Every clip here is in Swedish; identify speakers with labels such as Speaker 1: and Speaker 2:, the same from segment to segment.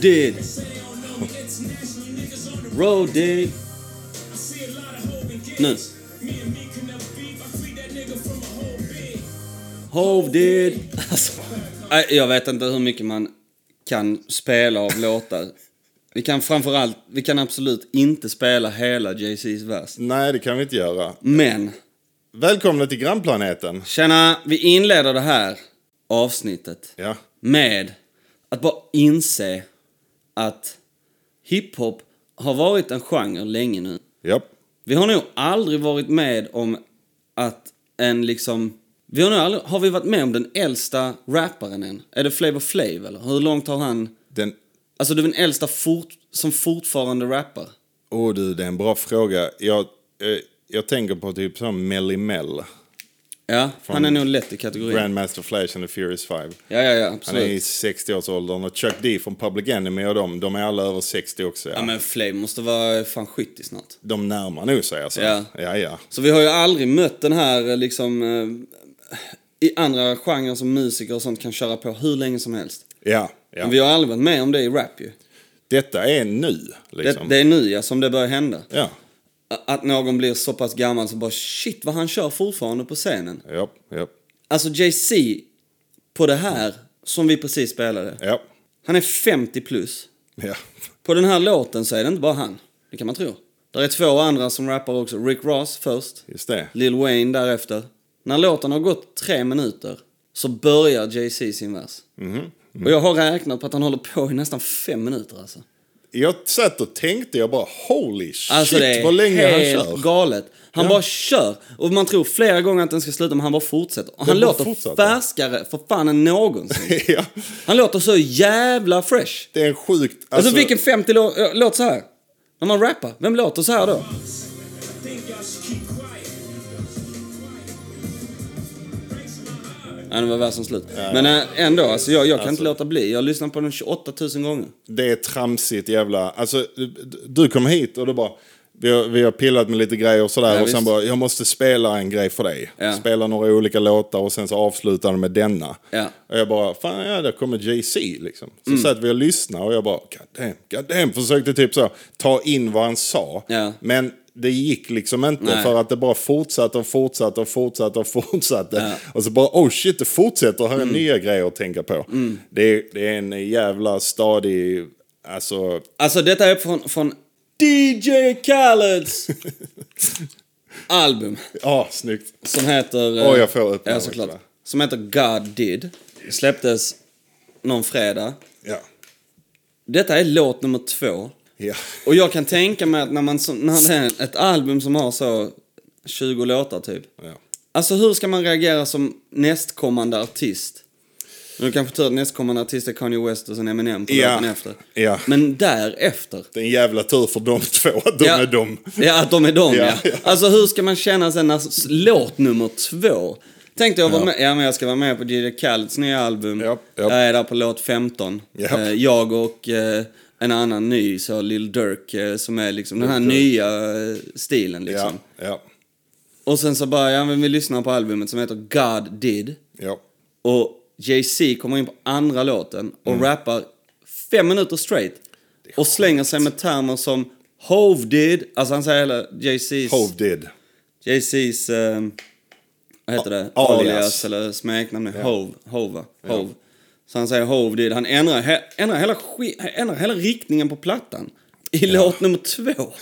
Speaker 1: did. Road did. None. Hov did. Alltså, nej, jag vet inte hur mycket man kan spela av låtar. Vi kan framförallt, vi kan absolut inte spela hela Jay-Z's vers.
Speaker 2: Nej, det kan vi inte göra.
Speaker 1: Men,
Speaker 2: Välkomna till grannplaneten.
Speaker 1: tjena, vi inleder det här avsnittet
Speaker 2: Ja.
Speaker 1: med att bara inse att hiphop har varit en genre länge nu.
Speaker 2: Japp.
Speaker 1: Vi har nog aldrig varit med om att en liksom... Vi har, nog aldrig, har vi varit med om den äldsta rapparen än? Är det Flavor Flav eller? Hur långt har han...
Speaker 2: Den...
Speaker 1: Alltså det är den äldsta fort, som fortfarande rappar.
Speaker 2: Åh du, det är en bra fråga. Jag, eh, jag tänker på typ som Melly Mell.
Speaker 1: Ja, han är nog lätt i kategorin.
Speaker 2: Grandmaster Flash and the Furious Five.
Speaker 1: Ja, ja, ja,
Speaker 2: Han är i
Speaker 1: absolut.
Speaker 2: 60-årsåldern och Chuck D från Public Enemy och dem, de är alla över 60 också.
Speaker 1: Ja,
Speaker 2: Ja.
Speaker 1: men Flav måste vara fan 70 snart.
Speaker 2: De närmar nog sig alltså.
Speaker 1: Ja.
Speaker 2: ja, ja.
Speaker 1: Så vi har ju aldrig mött den här eh, liksom... eh, I andra genrer som musiker och sånt kan köra på hur länge som helst.
Speaker 2: ja, ja.
Speaker 1: Men vi har aldrig varit med om det i rap ju.
Speaker 2: Detta är nu,
Speaker 1: Det,
Speaker 2: liksom.
Speaker 1: det är nu ja, som det börjar hända.
Speaker 2: Ja,
Speaker 1: Att någon blir så pass gammal så bara shit vad han kör fortfarande på scenen.
Speaker 2: ja, ja,
Speaker 1: Alltså Jay-Z på det här som vi precis spelade.
Speaker 2: ja.
Speaker 1: Han är 50 plus.
Speaker 2: ja.
Speaker 1: På den här låten så är det inte bara han. Det kan man tro. Där är två andra som rappar också. Rick Ross först.
Speaker 2: Just det.
Speaker 1: Lil Wayne därefter. När låten har gått tre minuter så börjar Jay-Z sin vers. Och jag har räknat på att han håller på i nästan fem minuter alltså.
Speaker 2: Jag satt och tänkte, jag bara holy shit
Speaker 1: Alltså det är
Speaker 2: vad länge han
Speaker 1: helt
Speaker 2: kör.
Speaker 1: galet. Han
Speaker 2: Ja.
Speaker 1: bara kör. Och man tror flera gånger att den ska sluta, men han bara fortsätter. Och han
Speaker 2: Den bara
Speaker 1: låter
Speaker 2: fortsätter.
Speaker 1: färskare för fan än någonsin.
Speaker 2: ja,
Speaker 1: Han låter så jävla fresh.
Speaker 2: det är en sjukt...
Speaker 1: Alltså, vilken 50 lå- äh, låt så här? När man rappar, vem låter så här då? Ja, nu var versen slut. Men äh, ändå, alltså, jag, jag kan inte låta bli. Jag har lyssnat på den 28 000 gånger.
Speaker 2: Det är tramsigt jävla... Alltså, du- du kom hit och du bara... Vi har, vi har pillat med lite grejer och sådär
Speaker 1: Ja,
Speaker 2: och sen
Speaker 1: visst.
Speaker 2: bara, jag måste spela en grej för dig.
Speaker 1: Ja.
Speaker 2: Spela några olika låtar och sen så avslutar de med denna.
Speaker 1: Ja. Mm.
Speaker 2: Och jag bara, fan ja, där kommer Jay-Z liksom. Så satt vi och lyssnade och jag bara, god damn, god damn. Försökte typ så, ta in vad han sa.
Speaker 1: Ja.
Speaker 2: Men det gick liksom inte
Speaker 1: Nej.
Speaker 2: för att det bara fortsatte och fortsatte och fortsatte och fortsatte. Och så bara, oh shit, det fortsätter. Här är
Speaker 1: Mm.
Speaker 2: nya grejer att tänka på. Det, är, det är en jävla stadig, alltså,
Speaker 1: Alltså detta är från, från DJ Khaleds album.
Speaker 2: ja, snyggt.
Speaker 1: Som heter... eh,
Speaker 2: Åh, jag får öppna
Speaker 1: Ja,
Speaker 2: den
Speaker 1: såklart.
Speaker 2: också.
Speaker 1: Som heter God Did. Släpptes någon fredag.
Speaker 2: Ja.
Speaker 1: Detta är låt nummer två.
Speaker 2: Ja.
Speaker 1: Och jag kan tänka mig att när man... så- När det är ett album som har så 20 låtar typ.
Speaker 2: ja.
Speaker 1: Alltså hur ska man reagera som nästkommande artist? Nu kanske tur att nästkommande artist är Kanye West och sen Eminem på
Speaker 2: Ja.
Speaker 1: låten efter.
Speaker 2: Ja.
Speaker 1: Men därefter.
Speaker 2: Det är en jävla tur för de två att de är de.
Speaker 1: Ja, att de är de, ja.
Speaker 2: Ja, ja.
Speaker 1: Alltså hur ska man känna sen när s- låt nummer två? Tänkte jag vara med, ja men jag ska vara med på DJ Khaleds nya album.
Speaker 2: Ja, ja.
Speaker 1: Jag är där på låt 15.
Speaker 2: Ja.
Speaker 1: Eh, Jag och eh, en annan ny, så Lil Durk, eh, som är liksom den här nya eh, stilen
Speaker 2: Ja,
Speaker 1: liksom.
Speaker 2: ja,
Speaker 1: Och sen så bara, ja men vi lyssnar på albumet som heter God Did.
Speaker 2: ja.
Speaker 1: Och Jay-Z kommer in på andra låten och
Speaker 2: Mm.
Speaker 1: rappar fem minuter straight. Och slänger sig med termer som Hove did, alltså han säger hela Jay-Z's...
Speaker 2: Hov did.
Speaker 1: Jay-Z's... ehm, vad heter det?
Speaker 2: A- alias.
Speaker 1: eller smeknamn. Yeah. Hove. Hove, va? Hove. Så han säger Hove did. Han ändrar, he- ändrar, hela, ski- ändrar hela riktningen på plattan. I låt nummer två.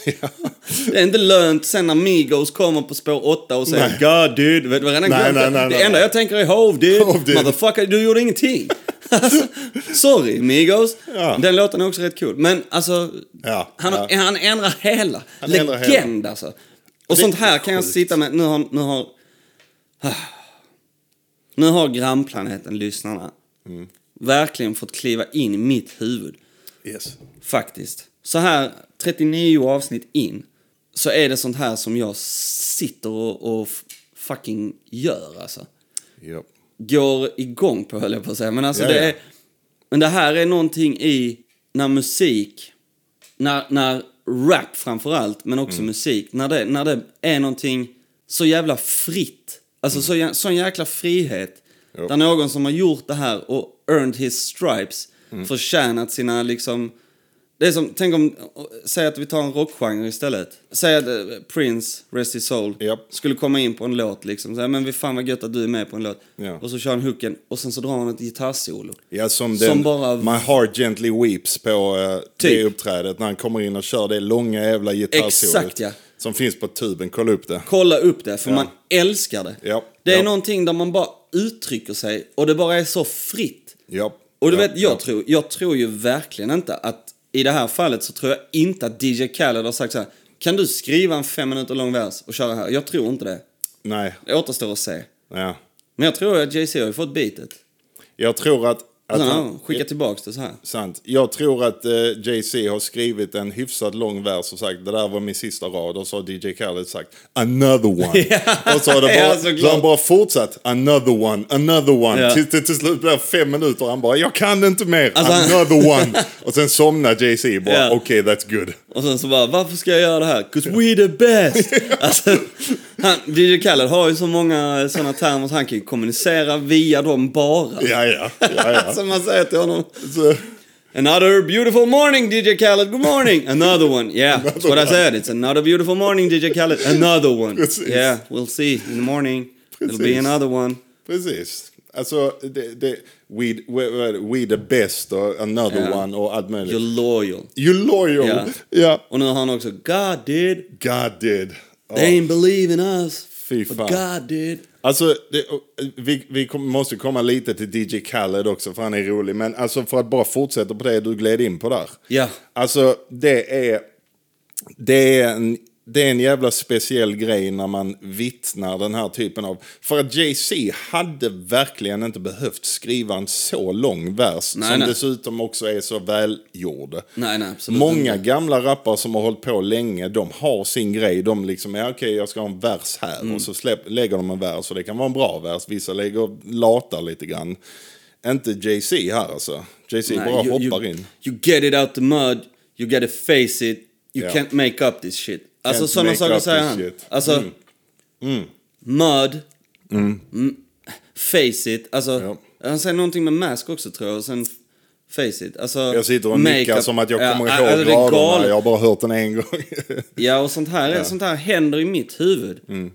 Speaker 1: Det är inte lönt sen när Migos kommer på spår åtta och säger God dude. Vet du, varenda
Speaker 2: Nej,
Speaker 1: gång-
Speaker 2: nej, nej,
Speaker 1: det
Speaker 2: nej,
Speaker 1: enda
Speaker 2: nej.
Speaker 1: jag tänker är Hove dude.
Speaker 2: Hove, dude."
Speaker 1: Motherfucker, du gjorde ingenting. Alltså, Sorry Migos.
Speaker 2: Ja.
Speaker 1: Den låten är också rätt cool. Men alltså,
Speaker 2: Ja,
Speaker 1: han,
Speaker 2: ja.
Speaker 1: han ändrar hela.
Speaker 2: Han ändrar hela.
Speaker 1: Legend alltså. Och
Speaker 2: Det är
Speaker 1: sånt här kan jag
Speaker 2: sjukt.
Speaker 1: sitta med. Nu har... Nu har, Ah. nu har grannplaneten, lyssnarna,
Speaker 2: Mm.
Speaker 1: verkligen fått kliva in i mitt huvud.
Speaker 2: Yes.
Speaker 1: Faktiskt. Så här, 39 avsnitt in, så är det sånt här som jag sitter och, och f- fucking gör alltså.
Speaker 2: Ja.
Speaker 1: Går igång på höll jag på att säga. Men alltså
Speaker 2: Ja,
Speaker 1: det
Speaker 2: ja.
Speaker 1: är... Men det här är någonting i när musik, när, när rap framför allt, men
Speaker 2: Mm.
Speaker 1: också musik, när det, när det är någonting så jävla fritt, alltså
Speaker 2: Mm.
Speaker 1: så, jä- sån jäkla frihet,
Speaker 2: Ja.
Speaker 1: där någon som har gjort det här och earned his stripes
Speaker 2: Mm.
Speaker 1: förtjänat sina liksom... Det är som, tänk om, säg att vi tar en rockgenre istället. Säg att eh, Prince, Rest His Soul,
Speaker 2: Japp.
Speaker 1: skulle komma in på en låt liksom. Så här, men vi fan vad gött att du är med på en låt.
Speaker 2: Ja.
Speaker 1: Och så kör han hooken och sen så drar han ett gitarrsolo.
Speaker 2: Ja, som,
Speaker 1: Som
Speaker 2: den,
Speaker 1: bara-
Speaker 2: My Heart Gently Weeps på eh, det
Speaker 1: Typ.
Speaker 2: uppträdet när han kommer in och kör det långa jävla gitarrsolot
Speaker 1: Exakt, ja.
Speaker 2: som finns på tuben. Kolla upp det.
Speaker 1: Kolla upp det, för man älskar det.
Speaker 2: Ja.
Speaker 1: Det är
Speaker 2: Ja.
Speaker 1: någonting där man bara uttrycker sig och det bara är så fritt.
Speaker 2: Ja.
Speaker 1: Och du
Speaker 2: ja,
Speaker 1: vet, jag,
Speaker 2: ja.
Speaker 1: tror, jag tror ju verkligen inte att... I det här fallet så tror jag inte att DJ Khaled har sagt så här. Kan du skriva en fem minuter lång vers och köra här? Jag tror inte det.
Speaker 2: Nej,
Speaker 1: Det återstår att se.
Speaker 2: ja.
Speaker 1: Men jag tror att Jay-Z har ju fått beatet.
Speaker 2: Jag tror att... att
Speaker 1: Sen har
Speaker 2: han,
Speaker 1: han skickat tillbaks det så här.
Speaker 2: sant. Jag tror att eh, Jay-Z har skrivit en hyfsat lång vers och sagt det där var min sista rad och så har DJ Khaled sagt another one. och så har det bara,
Speaker 1: Ja,
Speaker 2: så
Speaker 1: såklart.
Speaker 2: har han bara fortsatt another one, another one.
Speaker 1: Ja.
Speaker 2: Till, till, till slut blir det fem minuter och han bara jag kan inte mer,
Speaker 1: Alltså, han-
Speaker 2: another one. och sen somnar Jay-Z bara
Speaker 1: Ja.
Speaker 2: okej that's good.
Speaker 1: Och sen så bara, varför ska jag göra det här? 'Cause we the best! Alltså, han, DJ Khaled har ju så många sådana termer så han kan ju kommunicera via dem bara.
Speaker 2: Ja, ja, ja, ja.
Speaker 1: Som man säger till honom.
Speaker 2: Så,
Speaker 1: Another beautiful morning DJ Khaled, good morning! Another one, yeah, that's what I said. It's another beautiful morning DJ Khaled, another one.
Speaker 2: Precis.
Speaker 1: Yeah, we'll see in the morning. It'll be
Speaker 2: Precis.
Speaker 1: another one.
Speaker 2: precis. Alltså, det, det, we, we, we- we the best och another
Speaker 1: Ja.
Speaker 2: one och allt möjligt.
Speaker 1: You're loyal.
Speaker 2: You're loyal.
Speaker 1: Ja.
Speaker 2: Ja.
Speaker 1: Och nu har han också God did,
Speaker 2: God did. Ja.
Speaker 1: they ain't believe in us.
Speaker 2: Fy
Speaker 1: but
Speaker 2: fan.
Speaker 1: God did.
Speaker 2: Alltså, det, och, vi, vi kom, måste komma lite till DJ Khaled också, för han är rolig. Men alltså, för att bara fortsätta på det du gled in på där.
Speaker 1: Ja.
Speaker 2: Alltså, det är, det är, en, det är en jävla speciell grej när man vittnar den här typen av... För att Jay-Z hade verkligen inte behövt skriva en så lång vers,
Speaker 1: Nej,
Speaker 2: som
Speaker 1: nej.
Speaker 2: dessutom också är så välgjord.
Speaker 1: Nej, nej, absolut
Speaker 2: Många gamla rappare som har hållit på länge, de har sin grej. De liksom, ja okej jag ska ha en vers här.
Speaker 1: Mm.
Speaker 2: Och så släpp, lägger de en vers och det kan vara en bra vers. Vissa lägger latar lite grann. Inte Jay-Z här alltså. Jay-Z
Speaker 1: Nej,
Speaker 2: bara
Speaker 1: you-
Speaker 2: hoppar
Speaker 1: you,
Speaker 2: in.
Speaker 1: You get it out the mud, you gotta face it, you
Speaker 2: Ja.
Speaker 1: can't make up this shit. Alltså
Speaker 2: Can't
Speaker 1: sådana
Speaker 2: make
Speaker 1: saker
Speaker 2: up
Speaker 1: säger
Speaker 2: this
Speaker 1: han.
Speaker 2: shit. Mm.
Speaker 1: Alltså, mud, m- face it, alltså, han säger någonting med mask också tror jag, och sen face it. Alltså,
Speaker 2: Jag sitter och nickar som att jag kommer ihåg
Speaker 1: alltså, det är
Speaker 2: raderna.
Speaker 1: galet.
Speaker 2: Jag har bara hört den en gång.
Speaker 1: Ja, och sånt här, är- sånt här händer i mitt huvud.
Speaker 2: Mm.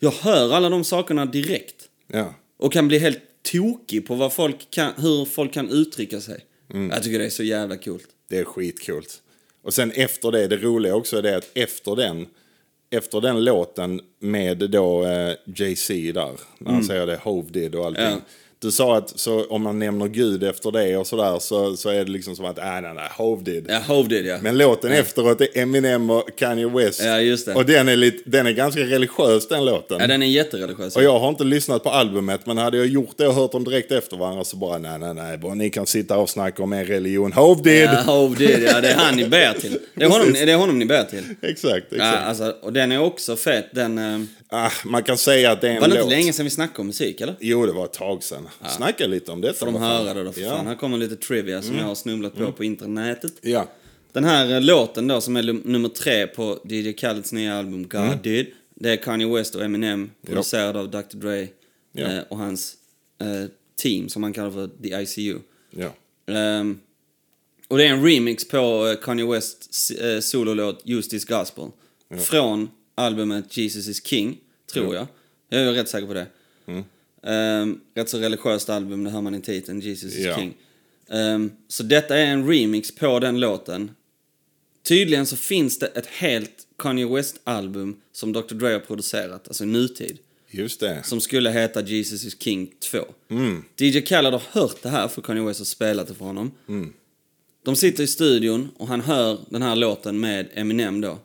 Speaker 1: Jag hör alla de sakerna direkt.
Speaker 2: ja.
Speaker 1: Och kan bli helt tokig på vad folk kan, hur folk kan uttrycka sig.
Speaker 2: Mm.
Speaker 1: Jag tycker det är så jävla coolt.
Speaker 2: Det är skitcoolt. Och sen efter det, det roliga också är det att efter den, efter den låten med då eh, Jay-Z där, när han säger det, Hove did och allting.
Speaker 1: Mm. Ja.
Speaker 2: Du sa att så, om man nämner Gud efter det och sådär så, så är det liksom som att, nej nej nej, Hove did.
Speaker 1: Ja, Hov did ja.
Speaker 2: Men låten efteråt är Eminem och Kanye West.
Speaker 1: Ja, just det.
Speaker 2: Och den är, lite, den är ganska religiös den låten.
Speaker 1: ja den är jättereligiös.
Speaker 2: Och jag har inte lyssnat på albumet, men hade jag gjort det och hört dem direkt efter varandra så bara nej, nej, nej, bara, ni kan sitta och snacka om er religion. Hove did!
Speaker 1: Ja, Hov did ja. Det är han ni ber till. Det är honom, det är honom ni ber till.
Speaker 2: Exakt,
Speaker 1: Ja,
Speaker 2: exakt.
Speaker 1: alltså, och den är också fet. Den, eh,
Speaker 2: Ah, man kan säga att det är en
Speaker 1: var det
Speaker 2: låt.
Speaker 1: inte länge sedan vi snackade om musik eller?
Speaker 2: Jo, det var ett tag sedan. Snacka lite om detta.
Speaker 1: Får de
Speaker 2: vad fan.
Speaker 1: höra det då för
Speaker 2: ja. Mm.
Speaker 1: fan. Här kommer lite trivia som jag har snubblat på på internetet.
Speaker 2: Ja.
Speaker 1: Den här eh, låten då som är lum- nummer tre på DJ Khaleds nya album God
Speaker 2: Mm.
Speaker 1: Did. Det är Kanye West och Eminem producerad av Dr Dre
Speaker 2: Ja.
Speaker 1: eh, och hans eh, team som han kallar för The ICU.
Speaker 2: ja.
Speaker 1: Ehm, och det är en remix på eh, Kanye Wests eh, sololåt Use This Gospel. Från albumet Jesus Is King, tror jag. Jag är rätt säker på det. Ehm, rätt så religiöst album, det hör man i titeln, Jesus Is
Speaker 2: Ja.
Speaker 1: King. Ehm, så detta är en remix på den låten. Tydligen så finns det ett helt Kanye West-album som Dr. Dre har producerat, alltså i nutid
Speaker 2: Just det.
Speaker 1: som skulle heta Jesus is King 2. DJ Khaled har hört det här för Kanye West har spelat det för honom. De sitter i studion och han hör den här låten med Eminem då.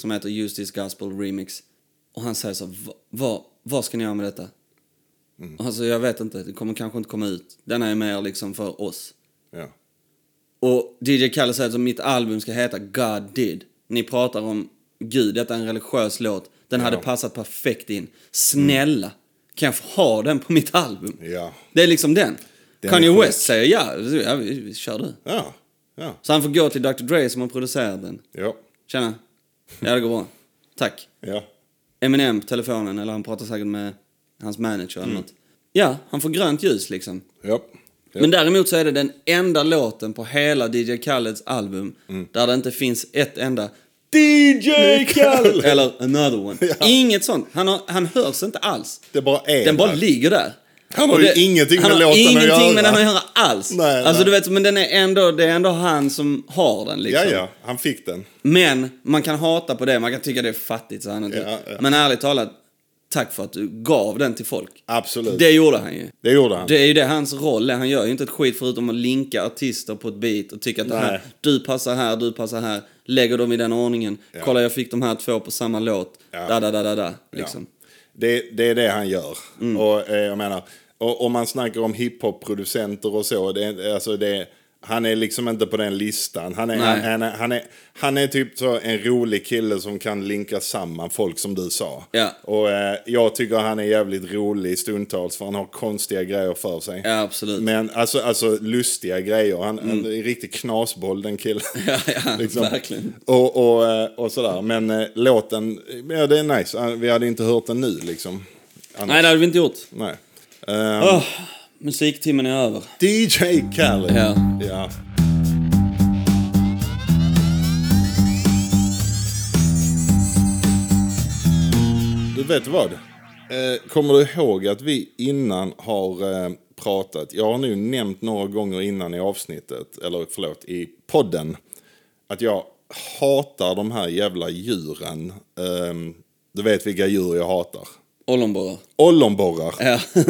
Speaker 1: Som heter Use This Gospel Remix. Och han säger så, "Va- vad, vad ska ni göra med detta? Alltså jag vet inte, det kommer kanske inte komma ut. Den här är mer liksom för oss.
Speaker 2: Ja.
Speaker 1: Och DJ Khaled säger att alltså, mitt album ska heta God did. Ni pratar om Gud, detta är en religiös låt. Den hade passat perfekt in. Snälla, kan jag få ha den på mitt album?
Speaker 2: Ja.
Speaker 1: Det är liksom den.
Speaker 2: Den
Speaker 1: Kanye
Speaker 2: är sjuk.
Speaker 1: West säger ja, ja vi, vi kör du.
Speaker 2: Ja. Ja.
Speaker 1: Så han får gå till Dr Dre som har producerat den.
Speaker 2: Ja.
Speaker 1: Tjena, ja det går bra. Tack.
Speaker 2: Ja.
Speaker 1: Eminem på telefonen,
Speaker 2: Mm.
Speaker 1: eller han pratar säkert med hans manager eller något. Ja, han får grönt ljus liksom.
Speaker 2: Ja.
Speaker 1: Men däremot så är det den enda låten på hela DJ Khaleds album
Speaker 2: Mm.
Speaker 1: där det inte finns ett enda DJ Khaled! Eller another one. Inget sånt. Han, har, han hörs inte alls.
Speaker 2: Det bara är
Speaker 1: Den bara
Speaker 2: där.
Speaker 1: ligger där.
Speaker 2: Han har
Speaker 1: Och
Speaker 2: ju ingenting med
Speaker 1: han har
Speaker 2: låten att
Speaker 1: ingenting
Speaker 2: göra.
Speaker 1: med den att göra alls.
Speaker 2: Nej,
Speaker 1: alltså,
Speaker 2: nej.
Speaker 1: Du vet, men den är ändå, det är ändå han som har den. Liksom.
Speaker 2: Ja, ja, han fick den.
Speaker 1: Men man kan hata på det, man kan tycka det är fattigt. Så han
Speaker 2: Ja, ja.
Speaker 1: Men ärligt talat, tack för att du gav den till folk.
Speaker 2: Absolut.
Speaker 1: Det gjorde han ju.
Speaker 2: Det gjorde han.
Speaker 1: Det är ju det hans roll är. Han gör ju inte ett skit förutom att linka artister på ett beat och tycka att det här,
Speaker 2: Nej.
Speaker 1: du passar här, du passar här. Lägger dem i den ordningen. Kolla jag fick de här två på samma låt.
Speaker 2: Ja.
Speaker 1: Da, da, da, da, da.
Speaker 2: Ja.
Speaker 1: Liksom. Mm.
Speaker 2: Det, det är det han gör. Och eh, jag menar, och, om man snackar om hiphop-producenter och så, det, är- alltså det, han är liksom inte på den listan. Han är,
Speaker 1: Nej.
Speaker 2: han, han, är, han, är, han är typ så en rolig kille som kan linka samman folk som du sa.
Speaker 1: Ja.
Speaker 2: Och eh, jag tycker han är jävligt rolig stundtals för han har konstiga grejer för sig.
Speaker 1: Ja, absolut. Mm.
Speaker 2: Men alltså, alltså lustiga grejer. Han han är en riktig knasboll den killen.
Speaker 1: Ja, ja, verkligen.
Speaker 2: Liksom. Och, och, eh, och sådär. Men eh, låten, ja det är nice. Eh, Vi hade inte hört den nu liksom. Annars-
Speaker 1: Nej, det hade vi inte gjort.
Speaker 2: Nej. Eh,
Speaker 1: Åh, musiktimmen är över.
Speaker 2: DJ Khaled.
Speaker 1: Ja.
Speaker 2: ja. Du vet vad? Eh, Kommer du ihåg att vi innan har eh, pratat, jag har nu nämnt några gånger innan i avsnittet, eller förlåt, i podden, att jag hatar de här jävla djuren. Eh, Du vet vilka djur jag hatar.
Speaker 1: Ollonborrar.
Speaker 2: Ollonborrar.
Speaker 1: Ja.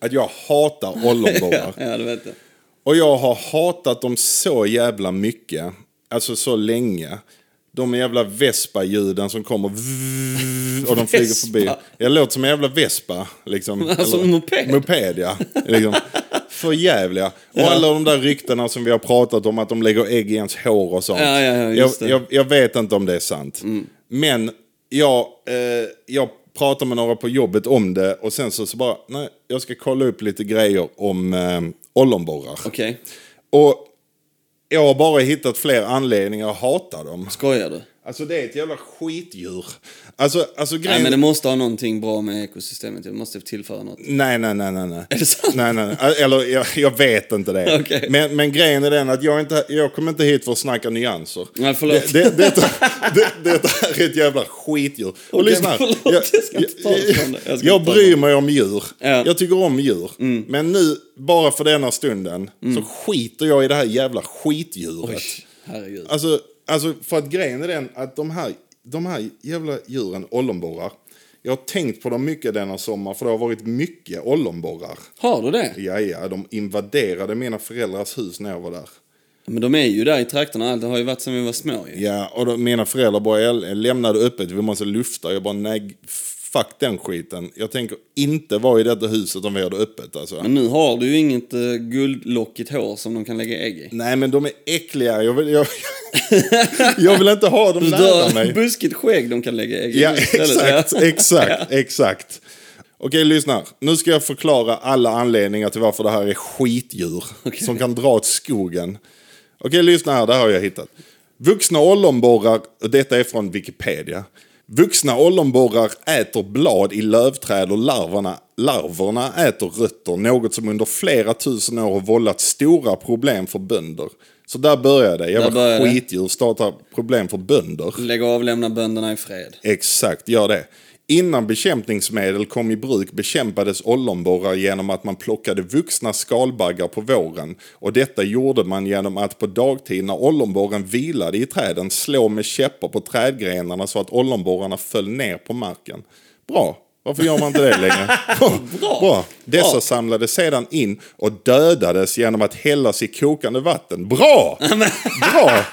Speaker 2: Att jag hatar ollonborrar.
Speaker 1: ja, det vet jag.
Speaker 2: Och jag har hatat dem så jävla mycket. Alltså så länge. De jävla vespa-ljuden som kommer vvvv och de flyger
Speaker 1: Vespa.
Speaker 2: förbi. Jag låter som en jävla vespa. Liksom.
Speaker 1: Alltså,
Speaker 2: Eller-
Speaker 1: moped.
Speaker 2: Moped, ja. Liksom. För jävliga. Och alla de där ryktena som vi har pratat om att de lägger ägg i ens hår och sånt.
Speaker 1: Ja, ja, ja,
Speaker 2: jag,
Speaker 1: just det. Mm.
Speaker 2: jag, jag vet inte om det är sant. Men jag, eh, jag pratar med några på jobbet om det och sen så, så bara, nej, jag ska kolla upp lite grejer om eh, ollonborrar.
Speaker 1: Okej,
Speaker 2: Och jag har bara hittat fler anledningar att hata dem.
Speaker 1: skojar du?
Speaker 2: Alltså det är ett jävla skitdjur. Alltså, alltså
Speaker 1: Nej,
Speaker 2: grejen...
Speaker 1: men det måste ha någonting bra med ekosystemet. Det måste tillföra något.
Speaker 2: Nej, nej, nej, nej. nej.
Speaker 1: Är det sant?
Speaker 2: Nej, nej, nej. Eller jag, jag vet inte det.
Speaker 1: Okej.
Speaker 2: Men, men grejen är den att jag, är inte, jag kommer inte hit för att snacka nyanser.
Speaker 1: Nej, förlåt.
Speaker 2: Det, det, det, det, det här är ett jävla skitdjur. Och
Speaker 1: Okej,
Speaker 2: lyssna. här.
Speaker 1: förlåt, jag ska inte ta det från dig. Jag
Speaker 2: jag,
Speaker 1: ska inte ta det.
Speaker 2: bryr mig om djur.
Speaker 1: Ja. Mm.
Speaker 2: Jag tycker om djur. Men nu, bara för denna stunden, så skiter jag i det här jävla skitdjuret.
Speaker 1: Herregud.
Speaker 2: Alltså, alltså för att grejen är den att de här, de här jävla djuren, ollonborrar. Jag har tänkt på dem mycket denna sommar för det har varit mycket ollonborrar.
Speaker 1: Har du det?
Speaker 2: Ja, ja, de invaderade mina föräldrars hus när jag var där.
Speaker 1: Men de är ju där i trakterna. Allt det har ju varit sedan vi var små ju.
Speaker 2: Ja, och då, mina föräldrar bara jag lämnade öppet, vi måste lufta. Jag bara nej, fuck den skiten. Jag tänker inte vara i detta huset om vi har det öppet alltså.
Speaker 1: Men nu har du ju inget eh, guldlockigt hår som de kan lägga ägg i.
Speaker 2: Nej, men de är äckliga. Jag vill, jag, jag vill inte ha dem
Speaker 1: Du
Speaker 2: nära mig.
Speaker 1: har buskigt skägg de kan lägga ägg i.
Speaker 2: Ja,
Speaker 1: istället.
Speaker 2: exakt,
Speaker 1: Ja.
Speaker 2: exakt, exakt. Okej, lyssna. Nu ska jag förklara alla anledningar till varför det här är skitdjur som kan dra åt skogen. Okej, lyssna här. Det här har jag hittat. Vuxna ollonborrar, och detta är från Wikipedia. Vuxna ollonborrar äter blad i lövträd och larverna, larverna äter rötter. Något som under flera tusen år har vållat stora problem för bönder. Så där började det. Jävla
Speaker 1: började det.
Speaker 2: skitdjur startar problem för bönder.
Speaker 1: Lägg av, lämna bönderna i fred.
Speaker 2: Exakt, gör det. Innan bekämpningsmedel kom i bruk bekämpades ollonborrar genom att man plockade vuxna skalbaggar på våren. Och detta gjorde man genom att på dagtid när ollonborren vilade i träden slå med käppar på trädgrenarna så att ollonborrarna föll ner på marken. Bra. Varför gör man inte det längre? Bra. Dessa
Speaker 1: Bra.
Speaker 2: samlades sedan in och dödades genom att hällas i kokande vatten. Bra! Bra!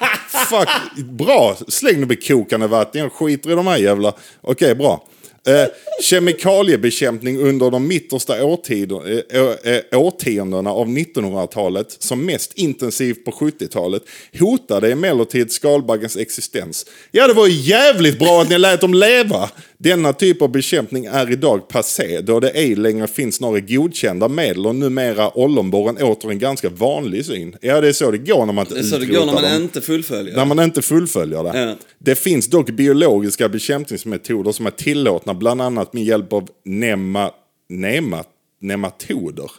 Speaker 2: Fuck, bra! Släng dem i kokande vatten, jag skiter i de här jävla... Okej, bra. Eh, kemikaliebekämpning under de mittersta årtider, eh, å- eh, årtiondena av 1900-talet, som mest intensivt på 70-talet, hotade emellertid skalbaggens existens. Ja, det var ju jävligt bra att ni lät dem leva! Denna typ av bekämpning är idag passé, då det ej längre finns några godkända medel och numera ollonborren åter en ganska vanlig syn. Ja, det är så det går när man inte
Speaker 1: Det är så det
Speaker 2: utrotar
Speaker 1: går när man
Speaker 2: dem.
Speaker 1: inte fullföljer.
Speaker 2: När man inte fullföljer det.
Speaker 1: Ja.
Speaker 2: Det finns dock biologiska bekämpningsmetoder som är tillåtna, bland annat med hjälp av nema, nema, nematoder.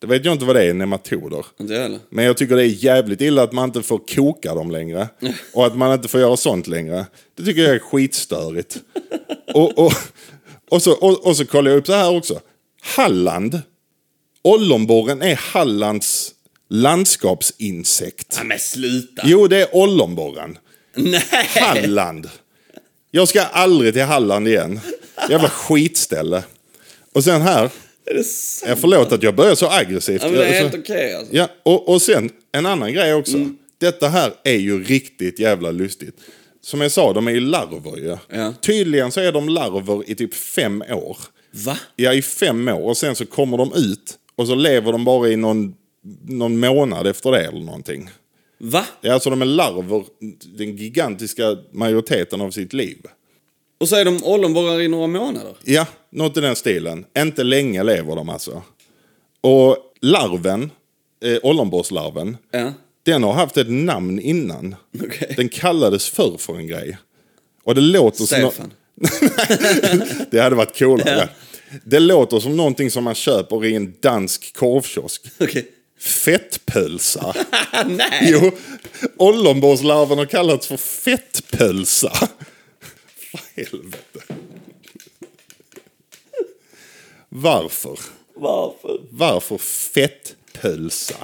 Speaker 2: Det vet jag inte vad det är, nematoder.
Speaker 1: Inte jag heller.
Speaker 2: Men jag tycker det är jävligt illa att man inte får koka dem längre. Och att man inte får göra sånt längre. Det tycker jag är skitstörigt. Och, och, och, så, och, och så kollar jag upp så här också. Halland. Ollonborren är Hallands landskapsinsekt.
Speaker 1: Ja, men sluta!
Speaker 2: Jo, det är ollonborren.
Speaker 1: Nej!
Speaker 2: Halland. Jag ska aldrig till Halland igen. Jävla skitställe. Och sen här.
Speaker 1: Är det sant?
Speaker 2: Jag förlåt att jag börjar så aggressivt.
Speaker 1: Ja, men det är
Speaker 2: Alltså-
Speaker 1: helt Mm. okej alltså.
Speaker 2: Ja, och, och sen en annan grej också. Detta här är ju riktigt jävla lustigt. Som jag sa, de är ju larver ju.
Speaker 1: Ja.
Speaker 2: Tydligen så är de larver i typ fem år.
Speaker 1: Va?
Speaker 2: Ja, i fem år och sen så kommer de ut och så lever de bara i någon, någon månad efter det eller någonting.
Speaker 1: Va?
Speaker 2: Ja, alltså de är larver den gigantiska majoriteten av sitt liv.
Speaker 1: Och så är de ollonborrar i några månader?
Speaker 2: Ja, något i den stilen. Inte länge lever de alltså. Och larven, eh, ollonborrslarven,
Speaker 1: Ja.
Speaker 2: den har haft ett namn innan.
Speaker 1: Okej.
Speaker 2: Den kallades förr för en grej. Och det låter som...
Speaker 1: Stefan.
Speaker 2: nå- Det hade varit coolare. Det låter som någonting som man köper i en dansk korvkiosk.
Speaker 1: Okej.
Speaker 2: Fettpölsa.
Speaker 1: Ah, nej!
Speaker 2: jo, ollonborrslarven har kallats för fettpölsa. För helvete. Varför?
Speaker 1: Varför?
Speaker 2: Varför fettpölsa?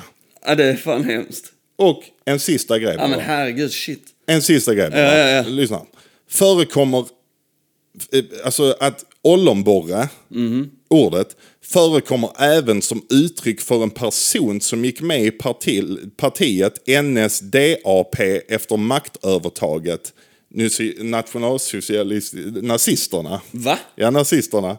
Speaker 1: Ja, det är fan hemskt.
Speaker 2: Och en sista grej
Speaker 1: Ja,
Speaker 2: bara.
Speaker 1: men herregud, shit.
Speaker 2: En sista grej bara.
Speaker 1: Ja, ja, ja.
Speaker 2: Lyssna. Förekommer, eh, alltså att ollonborre,
Speaker 1: Mhm.
Speaker 2: ordet, förekommer även som uttryck för en person som gick med i parti, partiet NSDAP efter maktövertaget nysi- nationalsocialist, nazisterna.
Speaker 1: Va?
Speaker 2: Ja, nazisterna.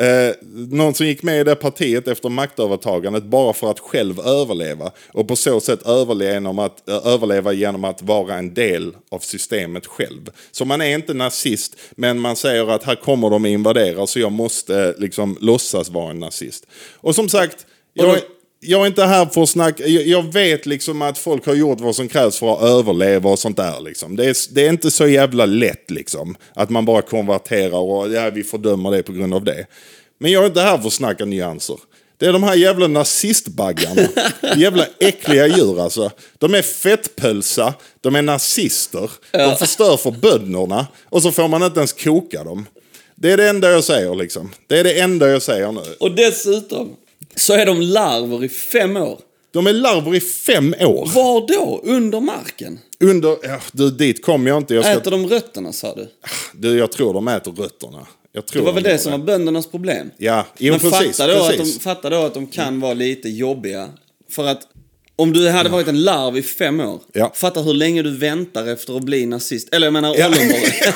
Speaker 2: Eh, någon som gick med i det partiet efter maktövertagandet bara för att själv överleva. Och på så sätt överleva genom att, eh, överleva genom att vara en del av systemet själv. Så man är inte nazist, men man säger att här kommer de att invadera så jag måste eh, liksom låtsas vara en nazist. Och som sagt, jag, är- jag är inte här för att snacka. Jag, jag vet liksom att folk har gjort vad som krävs för att överleva och sånt där. Liksom. Det, är, det är inte så jävla lätt liksom. Att man bara konverterar och ja, vi fördömer det på grund av det. Men jag är inte här för att snacka nyanser. Det är de här jävla nazistbaggarna. jävla äckliga djur alltså. De är fettpölsa, de är nazister, de förstör för bönderna och så får man inte ens koka dem. Det är det enda jag säger liksom. Det är det enda jag säger nu.
Speaker 1: Och dessutom så är de larver i fem år.
Speaker 2: De är larver i fem år.
Speaker 1: Var då? Under marken?
Speaker 2: Under... Ja, du, dit kom jag inte. Jag, ska,
Speaker 1: Äter de rötterna sa du?
Speaker 2: du, jag tror de äter rötterna. Jag tror
Speaker 1: Det var väl
Speaker 2: de gör
Speaker 1: det som var böndernas problem?
Speaker 2: Ja, jo,
Speaker 1: Men
Speaker 2: precis.
Speaker 1: fatta, då
Speaker 2: precis. Mm.
Speaker 1: Att de, fatta då att de kan vara lite jobbiga. För att om du hade varit en larv i fem år,
Speaker 2: Ja.
Speaker 1: fatta hur länge du väntar efter att bli nazist. Eller jag menar
Speaker 2: Ja.
Speaker 1: ollonborre.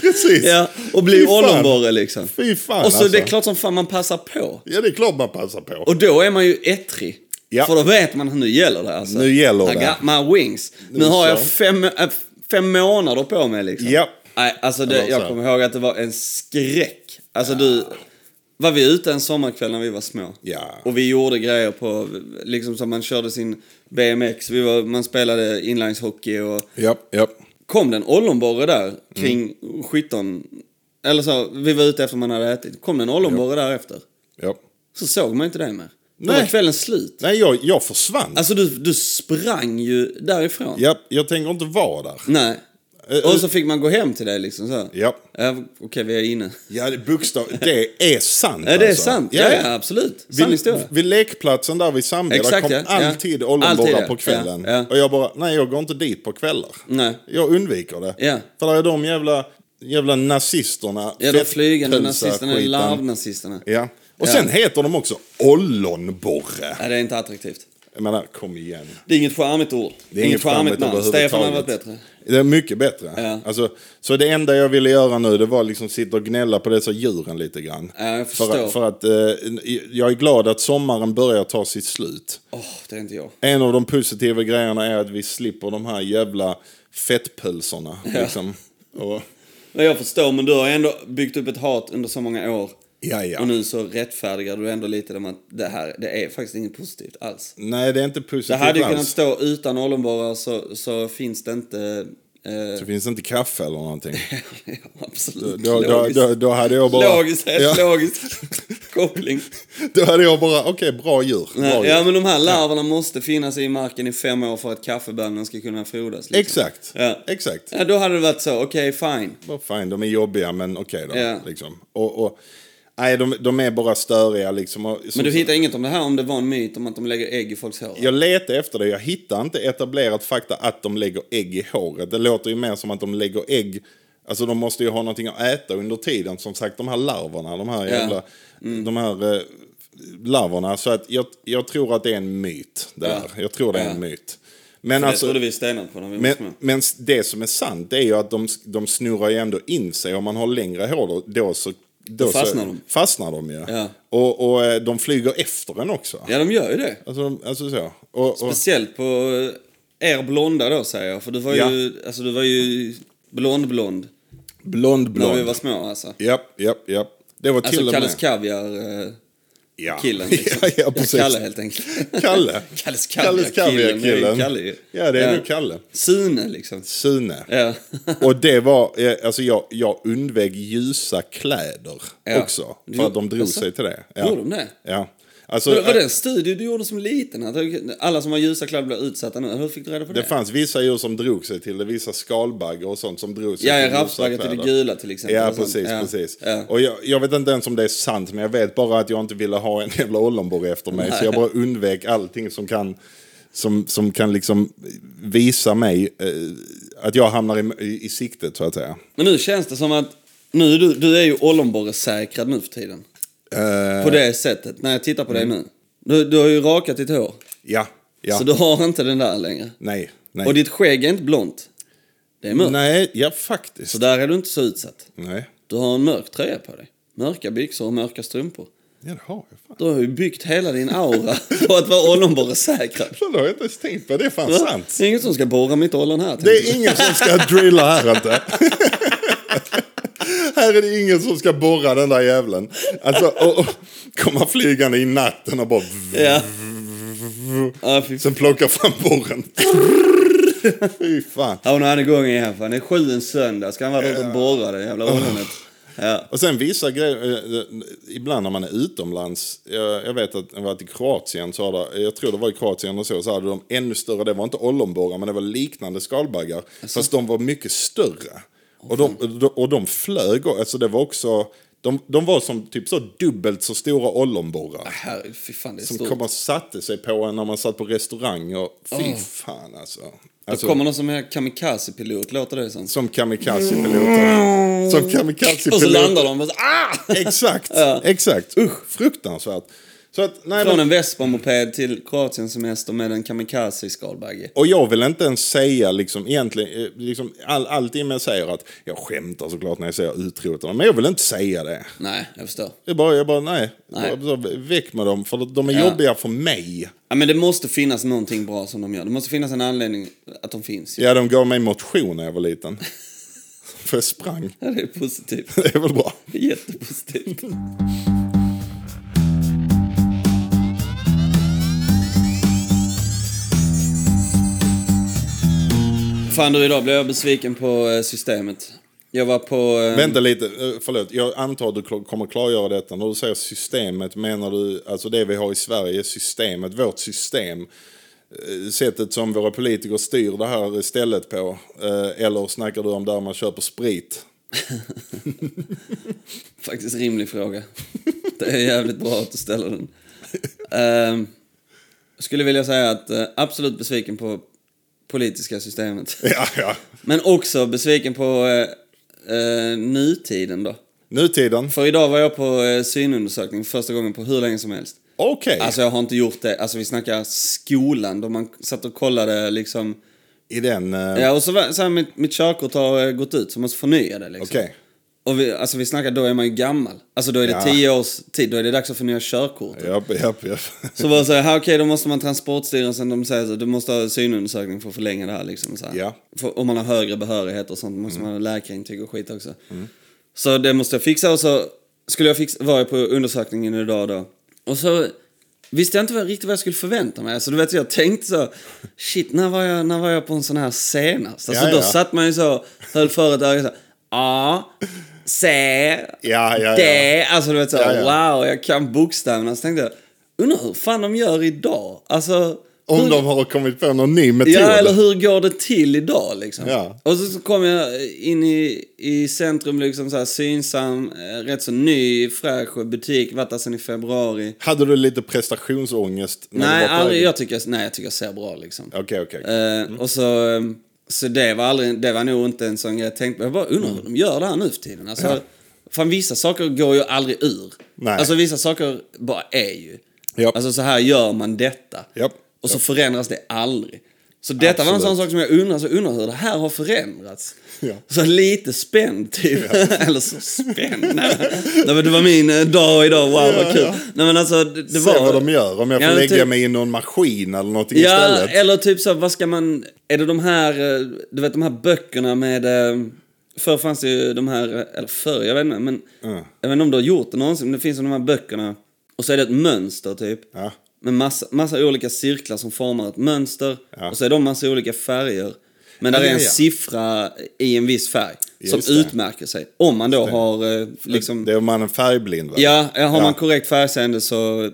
Speaker 2: Precis.
Speaker 1: ja, och
Speaker 2: Fy
Speaker 1: bli
Speaker 2: fan.
Speaker 1: ollonborre liksom.
Speaker 2: Fy fan
Speaker 1: Och så
Speaker 2: alltså.
Speaker 1: det är klart som fan man passar på.
Speaker 2: Ja, det är klart man passar på.
Speaker 1: Och då är man ju ettrig.
Speaker 2: Ja.
Speaker 1: För då vet man att nu gäller det alltså.
Speaker 2: Nu gäller
Speaker 1: I
Speaker 2: det.
Speaker 1: got my wings. Nu har
Speaker 2: så.
Speaker 1: jag fem, äh, fem månader på mig liksom.
Speaker 2: Ja.
Speaker 1: Nej, alltså det,
Speaker 2: Eller så.
Speaker 1: jag kommer ihåg att det var en skräck. Alltså du, var vi ute en sommarkväll när vi var små?
Speaker 2: Ja.
Speaker 1: Och vi gjorde grejer på, liksom som man körde sin BMX, vi var, man spelade inlineshockey och
Speaker 2: Ja, ja.
Speaker 1: kom den ollonborre där kring
Speaker 2: Mm.
Speaker 1: 17, eller så, vi var ute efter man hade ätit, kom den ollonborre där efter.
Speaker 2: ja.
Speaker 1: Så såg man inte det mer. Då
Speaker 2: Nej.
Speaker 1: var kvällen slut.
Speaker 2: Nej, jag, jag försvann.
Speaker 1: Alltså du, du sprang ju därifrån.
Speaker 2: Ja, jag tänker inte vara där.
Speaker 1: Nej.
Speaker 2: Eh, eh.
Speaker 1: Och så fick man gå hem till det liksom så.
Speaker 2: Ja.
Speaker 1: Okej, vi är inne.
Speaker 2: Ja, det, bokstav, det är sant
Speaker 1: Ja, det är
Speaker 2: alltså.
Speaker 1: sant. Ja, ja, absolut. Sann
Speaker 2: Vid,
Speaker 1: historia.
Speaker 2: vid lekplatsen där vid Sandby, där
Speaker 1: Exakt,
Speaker 2: kom
Speaker 1: ja. Ja.
Speaker 2: alltid
Speaker 1: Alltid,
Speaker 2: ollonborrar
Speaker 1: ja.
Speaker 2: på kvällen.
Speaker 1: Ja, ja.
Speaker 2: Och jag bara, nej jag går inte dit på kvällar.
Speaker 1: Nej.
Speaker 2: Jag undviker det.
Speaker 1: Ja.
Speaker 2: För där är de jävla, jävla nazisterna.
Speaker 1: Ja, de flygande
Speaker 2: fettpölsa
Speaker 1: nazisterna,
Speaker 2: skiten.
Speaker 1: larvnazisterna.
Speaker 2: Ja. Och
Speaker 1: Ja.
Speaker 2: sen heter de också ollonborre.
Speaker 1: Nej, det är inte attraktivt.
Speaker 2: Jag menar, kom igen.
Speaker 1: Det är inget charmigt ord.
Speaker 2: Det är inget charmigt
Speaker 1: namn.
Speaker 2: överhuvudtaget.
Speaker 1: Stefan hade varit bättre.
Speaker 2: Det är mycket bättre.
Speaker 1: Ja.
Speaker 2: Alltså, så det enda jag ville göra nu det var liksom sitta och gnälla på dessa djuren lite grann.
Speaker 1: Ja, jag
Speaker 2: för,
Speaker 1: förstår.
Speaker 2: att- för att eh, jag är glad att sommaren börjar ta sitt slut.
Speaker 1: Åh, det är inte jag.
Speaker 2: En av de positiva grejerna är att vi slipper de här jävla fettpölserna. Liksom. Och,
Speaker 1: Men jag förstår, men du har ändå byggt upp ett hat under så många år.
Speaker 2: ja, ja.
Speaker 1: Och nu så rättfärdigar du ändå lite om att det här, det är faktiskt inget positivt alls.
Speaker 2: Nej, det är inte
Speaker 1: Det
Speaker 2: positivt
Speaker 1: hade ju
Speaker 2: alls.
Speaker 1: kunnat stå utan ollonborrar så, så finns det inte eh,
Speaker 2: Så finns det inte kaffe eller någonting. Då,
Speaker 1: Absolut.
Speaker 2: då, då,
Speaker 1: logiskt.
Speaker 2: då, då hade jag bara...
Speaker 1: Logiskt, helt
Speaker 2: ja,
Speaker 1: logisk koppling.
Speaker 2: då hade jag bara, okej, bra djur. Bra djur.
Speaker 1: Ja, men de här larverna måste finnas i marken i fem år för att kaffebönorna ska kunna frodas. Liksom.
Speaker 2: Exakt.
Speaker 1: Ja.
Speaker 2: Exakt.
Speaker 1: Ja, då hade det varit så. Okej, fine.
Speaker 2: Vad Fine, de är jobbiga men okej då.
Speaker 1: Ja.
Speaker 2: Liksom. Och, och, nej, de, de är bara störiga liksom. Och, som-
Speaker 1: Men du hittar inget om det här om det var en myt om att de lägger ägg i folks hår?
Speaker 2: Jag letar efter det, jag hittar inte etablerat fakta att de lägger ägg i håret. Det låter ju mer som att de lägger ägg, alltså de måste ju ha någonting att äta under tiden. Som sagt, de här larverna, de här jävla,
Speaker 1: Mm.
Speaker 2: de här eh, larverna. Så att jag, jag tror att det är en myt där.
Speaker 1: Ja.
Speaker 2: Jag tror det är
Speaker 1: Ja.
Speaker 2: en myt. Men
Speaker 1: det
Speaker 2: alltså,
Speaker 1: trodde vi stenat på när vi var små.
Speaker 2: men, men det som är sant det är ju att de, de snurrar ju ändå in sig. Om man har längre hår då, då så... Då,
Speaker 1: fastnar
Speaker 2: så,
Speaker 1: de.
Speaker 2: Fastnar de ju.
Speaker 1: Ja.
Speaker 2: Och, och eh, de flyger efter en också.
Speaker 1: Ja, de gör ju det.
Speaker 2: Alltså, de- alltså så. Och, och,
Speaker 1: Speciellt på eh, er blonda då, säger jag. För du var ju, alltså, du var ju blond-blond
Speaker 2: blond, blond.
Speaker 1: när vi var små, alltså.
Speaker 2: Japp, japp, japp. Det var till
Speaker 1: Alltså
Speaker 2: och med...
Speaker 1: Kalles Kaviar-killen.
Speaker 2: ja.
Speaker 1: Liksom.
Speaker 2: ja, ja, precis.
Speaker 1: Kalle, helt enkelt.
Speaker 2: Kalle.
Speaker 1: Kalles
Speaker 2: Kalles
Speaker 1: Kaviar-killen. Det är ju
Speaker 2: Kaviar-killen.
Speaker 1: Kalle ju.
Speaker 2: Ja, det är nog Kalle.
Speaker 1: Sune, liksom.
Speaker 2: Sune.
Speaker 1: Ja.
Speaker 2: Och det var, eh, alltså jag, jag undvek ljusa kläder
Speaker 1: Ja.
Speaker 2: också.
Speaker 1: Du
Speaker 2: För
Speaker 1: gjorde-
Speaker 2: att de drog
Speaker 1: alltså?
Speaker 2: sig till det. Ja.
Speaker 1: Gjorde de det?
Speaker 2: Ja. Alltså,
Speaker 1: Var var det
Speaker 2: eh,
Speaker 1: en studie du gjorde som liten? Att alla som har ljusa kläder blir utsatta nu? Hur fick du reda på det?
Speaker 2: det fanns vissa djur som drog sig till det, vissa skalbaggar och sånt som drog sig
Speaker 1: ja, ja
Speaker 2: till ljusa
Speaker 1: rapsbaggar till det
Speaker 2: kläder.
Speaker 1: gula till exempel.
Speaker 2: Ja,
Speaker 1: och sånt.
Speaker 2: precis. precis.
Speaker 1: Ja.
Speaker 2: Och jag, jag vet inte ens om det är sant, men jag vet bara att jag inte ville ha en jävla ollonborg efter mig. Så jag bara undvek allting som kan, som, som kan liksom visa mig eh, att jag hamnar i, i, i siktet, så att säga.
Speaker 1: Men nu känns det som att nu, är du, du är ju ollonborresäkrad nu för tiden.
Speaker 2: Eh,
Speaker 1: På det sättet, när jag tittar på dig nu. Du, du har ju rakat ditt hår.
Speaker 2: ja, Mm. ja.
Speaker 1: Så du har inte den där längre.
Speaker 2: Nej, nej.
Speaker 1: Och ditt skägg är inte blont. Det är mörkt.
Speaker 2: Nej, ja faktiskt.
Speaker 1: Så där är du inte så utsatt.
Speaker 2: Nej,
Speaker 1: Du har en mörk tröja på dig. Mörka byxor och mörka strumpor.
Speaker 2: ja, det har jag fan.
Speaker 1: Du har ju byggt hela din aura på att vara ollonborresäkrad.
Speaker 2: Fan, Det har jag inte ens tänkt på, det är fan sant.
Speaker 1: Det är ingen som ska borra mitt ollon här.
Speaker 2: Det är ingen som ska drilla här inte. här är det ingen som ska borra den där jävlen. Alltså, och, och, komma flygande i natten och bara...
Speaker 1: Ja. Ja, fy fan.
Speaker 2: Sen plocka fram borren. Fy fan.
Speaker 1: Ja, nu är han igång igen. Fan. Det är sju en söndag. Ska han vara ute och borra det
Speaker 2: Oh.
Speaker 1: jävla ollonet? Ja.
Speaker 2: Och sen vissa grejer, eh, ibland när man är utomlands, jag, jag vet att jag varit i Kroatien, så har det, jag tror det var i Kroatien och så, så hade de ännu större, det var inte ollonborrar men det var liknande skalbaggar, fast de var mycket större. Och de, och de flög, och- alltså det var också, de, de var som typ så dubbelt så stora ollonborrar.
Speaker 1: Herre, fy fan, det är
Speaker 2: Som
Speaker 1: Ah, stort.
Speaker 2: kom och satte sig på en när man satt på restaurang och fy fan alltså. alltså
Speaker 1: Då kommer någon som är kamikazepilot, låter det som.
Speaker 2: Som kamikazepiloter. Som
Speaker 1: Och så
Speaker 2: kamikazepiloter.
Speaker 1: landar de och så, ah!
Speaker 2: Exakt, exakt. Usch, fruktansvärt. Så att, nej,
Speaker 1: Från en
Speaker 2: men,
Speaker 1: Vespa-moped till Kroatien semester med en kamikaze i skalbagge.
Speaker 2: och jag vill inte ens säga liksom egentligen, eh, liksom, all, alltid med säger att jag skämtar såklart när jag säger utrota dem, men jag vill inte säga det.
Speaker 1: Nej, jag förstår.
Speaker 2: Det är bara, jag bara nej,
Speaker 1: Nej.
Speaker 2: Bara, så, väck med dem för de är
Speaker 1: Ja.
Speaker 2: jobbiga för mig.
Speaker 1: Ja, men det måste finnas någonting bra som de gör. Det måste finnas en anledning att de finns. ju.
Speaker 2: Ja, de gav mig motion när jag var liten. för jag sprang.
Speaker 1: Ja, det är positivt.
Speaker 2: Det är väl bra.
Speaker 1: Det är Jättepositivt. Fan du, idag blev jag besviken på eh, systemet. Jag var på... eh,
Speaker 2: Vänta lite, eh, förlåt. Jag antar att du kl- kommer klargöra detta. När du säger systemet, menar du alltså det vi har i Sverige, systemet, vårt system? eh, Sättet som våra politiker styr det här stället på? eh, Eller snackar du om där man köper sprit?
Speaker 1: Faktiskt rimlig fråga. Det är jävligt bra att du ställer den. Ehm, Jag skulle vilja säga att eh, absolut besviken på politiska systemet.
Speaker 2: Ja, ja.
Speaker 1: Men också besviken på eh, eh, nutiden då.
Speaker 2: Nutiden?
Speaker 1: För idag var jag på eh, synundersökning för första gången på hur länge som helst.
Speaker 2: Okej.
Speaker 1: Alltså jag har inte gjort det, alltså vi snackar skolan då man satt och kollade liksom.
Speaker 2: I den... eh,
Speaker 1: Ja och så, var, så här, mitt, mitt körkort har eh, gått ut så man måste förnya det liksom.
Speaker 2: Okej.
Speaker 1: Och vi, alltså vi snackar, då är man ju gammal. Alltså då är det
Speaker 2: Ja.
Speaker 1: tio års tid, då är det dags att förnya körkort.
Speaker 2: Japp, japp, japp.
Speaker 1: Så bara så här, här, okej då måste man Transportstyrelsen, de säger så, du måste ha synundersökning för att förlänga det här liksom. Så här.
Speaker 2: Ja.
Speaker 1: För, om man har högre behörighet och sånt måste man ha läkarintyg och skit också.
Speaker 2: Mm.
Speaker 1: Så det måste jag fixa och så skulle jag fixa, var jag på undersökningen idag då. Och så visste jag inte vad, riktigt vad jag skulle förvänta mig. Alltså, du vet, jag tänkte så, shit, när var jag, när var jag på en sån här senast? Alltså,
Speaker 2: Ja,
Speaker 1: Då
Speaker 2: ja.
Speaker 1: satt man ju så, höll för ett öga så, ja, se,
Speaker 2: Ja, ja, ja.
Speaker 1: det, alltså du vet så,
Speaker 2: Ja, ja.
Speaker 1: wow, jag kan bokstäverna. Så tänkte jag, undrar hur fan de gör idag? Alltså,
Speaker 2: Om
Speaker 1: hur,
Speaker 2: de har kommit på någon ny metod.
Speaker 1: Ja, eller hur går det till idag liksom?
Speaker 2: Ja.
Speaker 1: Och så, så kom jag in i, i centrum, liksom så här synsam, eh, rätt så ny, fräsch butik, varit där sedan i februari.
Speaker 2: Hade du lite prestationsångest? När
Speaker 1: Nej,
Speaker 2: du var på
Speaker 1: aldrig,
Speaker 2: väg?
Speaker 1: jag tycker, nej, jag tycker jag ser bra liksom.
Speaker 2: Okej, okej. okej.
Speaker 1: Eh, Och så, eh, så det, var aldrig, det var nog inte en sån grej jag tänkte på. Jag bara undrar
Speaker 2: Mm.
Speaker 1: hur de gör det här nu för tiden. Alltså, Fan, vissa saker går ju aldrig ur.
Speaker 2: Nej.
Speaker 1: Alltså vissa saker bara är ju.
Speaker 2: Japp.
Speaker 1: Alltså så här gör man detta.
Speaker 2: Japp.
Speaker 1: Och så förändras det aldrig. Så detta var en sån sak
Speaker 2: Absolut.
Speaker 1: som jag undrar, så undrar hur det här har förändrats.
Speaker 2: Ja.
Speaker 1: Så lite spänd typ. Eller så spänd. Nej, men- nej, men det var min eh, dag idag, wow vad kul. Nej men alltså det, det
Speaker 2: Se
Speaker 1: var...
Speaker 2: vad de gör. Om jag får
Speaker 1: Ja,
Speaker 2: lägga
Speaker 1: typ-
Speaker 2: mig i någon maskin eller någonting
Speaker 1: Ja,
Speaker 2: istället.
Speaker 1: eller typ så, vad ska man... Är det de här, eh, du vet de här böckerna med... eh, Förr fanns det ju de här, eh, eller förr, jag vet inte, men... Jag vet inte om du har gjort det någonsin, men det finns ju de här böckerna. Och så är det ett mönster typ.
Speaker 2: Ja.
Speaker 1: Med massa, massa olika cirklar som formar ett mönster.
Speaker 2: Ja.
Speaker 1: Och så är de massa olika färger. Men där
Speaker 2: Ja,
Speaker 1: är en
Speaker 2: ja, ja.
Speaker 1: siffra i en viss färg.
Speaker 2: Just
Speaker 1: som
Speaker 2: det.
Speaker 1: utmärker sig. Om man då har eh, liksom...
Speaker 2: Det är om man är färgblind va?
Speaker 1: Ja, har
Speaker 2: Ja.
Speaker 1: man korrekt färgseende så,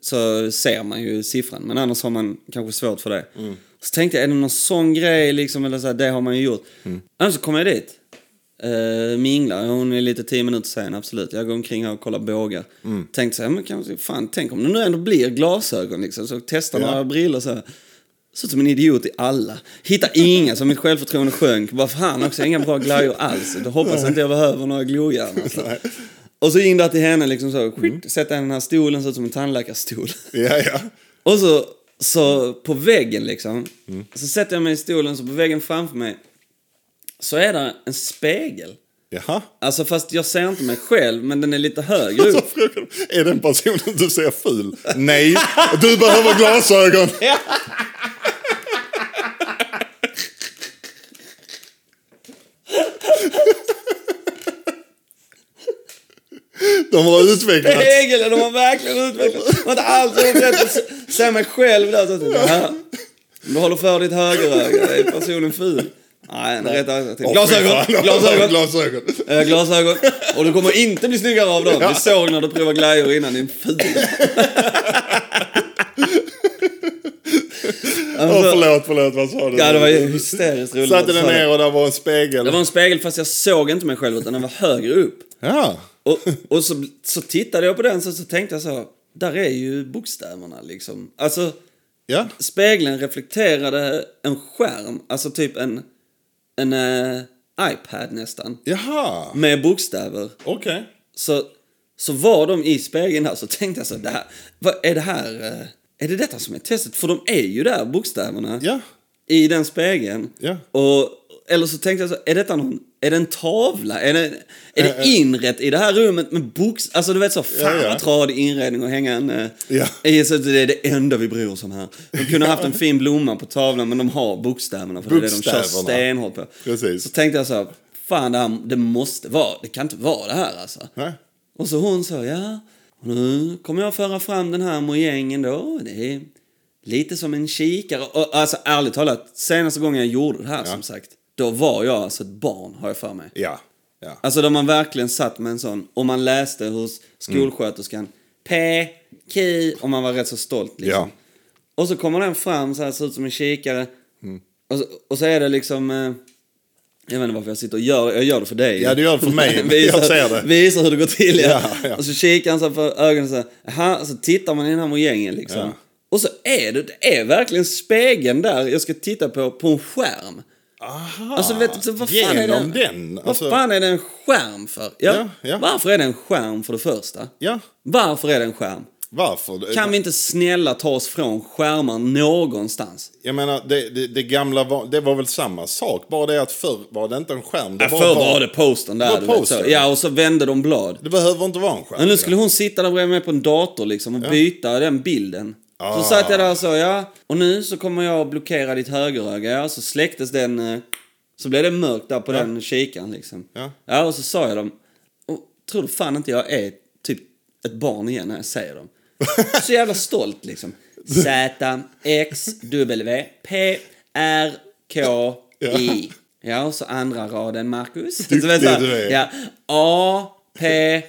Speaker 1: så ser man ju siffran. Men annars har man kanske svårt för det.
Speaker 2: Mm.
Speaker 1: Så tänkte jag, är det någon sån grej liksom? Eller så här, det har man ju gjort.
Speaker 2: Mm.
Speaker 1: Annars så kommer jag dit. Uh, minglar, hon är lite tio minuter sen, absolut. Jag går omkring här och kollar bågar.
Speaker 2: Mm.
Speaker 1: Tänkte så här, men kanske, fan, tänk om det nu ändå blir glasögon liksom. Så testar
Speaker 2: Ja.
Speaker 1: några brillor så här. Såg ut som en idiot i alla. Hittar inga, så mitt självförtroende sjönk. Bara fan också, inga bra glajjor alls. Då hoppas jag inte jag behöver några glojärn. Alltså. Och så in där till henne liksom
Speaker 2: Mm.
Speaker 1: så, skit, sätter henne i den här stolen, ser ut som en tandläkarstol.
Speaker 2: Ja, ja.
Speaker 1: Och så, så på väggen liksom,
Speaker 2: Mm.
Speaker 1: så sätter jag mig i stolen, så på väggen framför mig så är där en spegel.
Speaker 2: Jaha.
Speaker 1: Alltså fast jag ser inte mig själv, men den är lite högre
Speaker 2: Så
Speaker 1: upp.
Speaker 2: frågar de, är den personen du ser ful? Nej, du behöver glasögon. De har utvecklat.
Speaker 1: Spegeln, de har verkligen utvecklat. De har inte alls gjort rätt att se- se mig själv där. Så jag tänkte, "Jaha, om du håller för ditt högeröga, är personen ful? Nej, den är rätt öga.
Speaker 2: Åh, fy
Speaker 1: Glasögon,
Speaker 2: fan, de har
Speaker 1: glasögon.
Speaker 2: glasögon.
Speaker 1: Eh, glasögon. Och du kommer inte bli snyggare av dem. Vi såg när du provade glajjor innan, din ful. Alltså,
Speaker 2: Åh, förlåt, förlåt, vad sa du?
Speaker 1: Ja, det var ju hysteriskt roligt.
Speaker 2: Satte
Speaker 1: att du
Speaker 2: den
Speaker 1: sa det.
Speaker 2: ner och där var en spegel.
Speaker 1: Det var en spegel fast jag såg inte mig själv utan den var högre upp.
Speaker 2: Ja.
Speaker 1: Och, och så, så tittade jag på den så, så tänkte jag så, där är ju bokstäverna liksom. Alltså,
Speaker 2: ja.
Speaker 1: spegeln reflekterade en skärm, alltså typ en, en eh, iPad nästan,
Speaker 2: Jaha,
Speaker 1: med bokstäver.
Speaker 2: okej.
Speaker 1: Så, så var de i spegeln här så tänkte jag så, det här, vad är det här, eh, är det detta som är testet? För de är ju där bokstäverna
Speaker 2: Ja.
Speaker 1: i den spegeln.
Speaker 2: Ja.
Speaker 1: Och, eller så tänkte jag så, är detta någon, är det en tavla? Är det, är det inrätt i det här rummet med box... Alltså du vet så, fan
Speaker 2: Ja, ja.
Speaker 1: vad tradig inredning och hänga en... eh,
Speaker 2: Ja.
Speaker 1: i, så att det är det enda vi bryr oss om här. De kunde haft en fin blomma på tavlan men de har bokstäverna för det är det de kör
Speaker 2: Bokstäverna.
Speaker 1: stenhårt på.
Speaker 2: Precis.
Speaker 1: Så tänkte jag så, här, fan det, här, det måste vara, det kan inte vara det här alltså.
Speaker 2: Nej.
Speaker 1: Och så hon sa, ja, nu kommer jag föra fram den här mojängen då. Det är lite som en kikare. Och, alltså ärligt talat, senaste gången jag gjorde det här som sagt, då var jag alltså ett barn har jag för mig.
Speaker 2: Ja. ja.
Speaker 1: Alltså då man verkligen satt med en sån, och man läste hos skolsköterskan P, K, och man var rätt så stolt liksom.
Speaker 2: Ja.
Speaker 1: Och så kommer den fram så här, ser ut som en kikare. Och, så, och så är det liksom, eh, jag vet inte varför jag sitter och gör det, jag gör det för dig.
Speaker 2: Ja, du gör det för mig, men
Speaker 1: visar,
Speaker 2: jag ser det.
Speaker 1: Visar hur det går till ja.
Speaker 2: Ja, ja.
Speaker 1: Och så kikar han så här för ögonen så här, aha, så tittar man i den här mojängen liksom.
Speaker 2: Ja.
Speaker 1: Och så är det, det är verkligen spegeln där jag ska titta på, på en skärm.
Speaker 2: Aha.
Speaker 1: Alltså vet du, så vad fan är
Speaker 2: Genom
Speaker 1: det?
Speaker 2: den. Alltså,
Speaker 1: Vad fan är det en skärm för? Ja.
Speaker 2: Ja, ja.
Speaker 1: Varför är det en skärm för det första?
Speaker 2: Ja.
Speaker 1: Varför är det en skärm?
Speaker 2: Varför?
Speaker 1: Kan vi inte snälla ta oss från skärmar någonstans?
Speaker 2: Jag menar, det, det, det gamla var, det var väl samma sak. Bara det att förr var det inte en skärm. Det,
Speaker 1: Ja,
Speaker 2: bara
Speaker 1: förr
Speaker 2: var-
Speaker 1: var det postern där.
Speaker 2: var
Speaker 1: Du vet, så.
Speaker 2: postern.
Speaker 1: Ja, och så vände de blad.
Speaker 2: det behöver inte vara en skärm.
Speaker 1: Men nu skulle hon sitta där bredvid mig på en dator liksom och byta den bilden.
Speaker 2: Ah.
Speaker 1: Så satt jag där och sa ja, och nu så kommer jag att blockera ditt högeröga. Ja, så släcktes den, eh, så blev det mörkt där på den kikaren liksom.
Speaker 2: Ja.
Speaker 1: och så sa jag dem, och tror du fan inte jag är typ ett barn igen när jag säger dem. Så jävla stolt liksom. Z, X, W, P, R, K, I. Ja, och så andra raden, Marcus. så vet jag,
Speaker 2: du är.
Speaker 1: Alltså, Ja, A, P,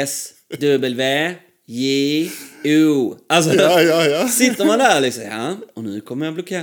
Speaker 1: S, W, J, O. Alltså,
Speaker 2: Ja, ja, ja.
Speaker 1: sitter man där liksom, ja, och nu kommer jag blockera.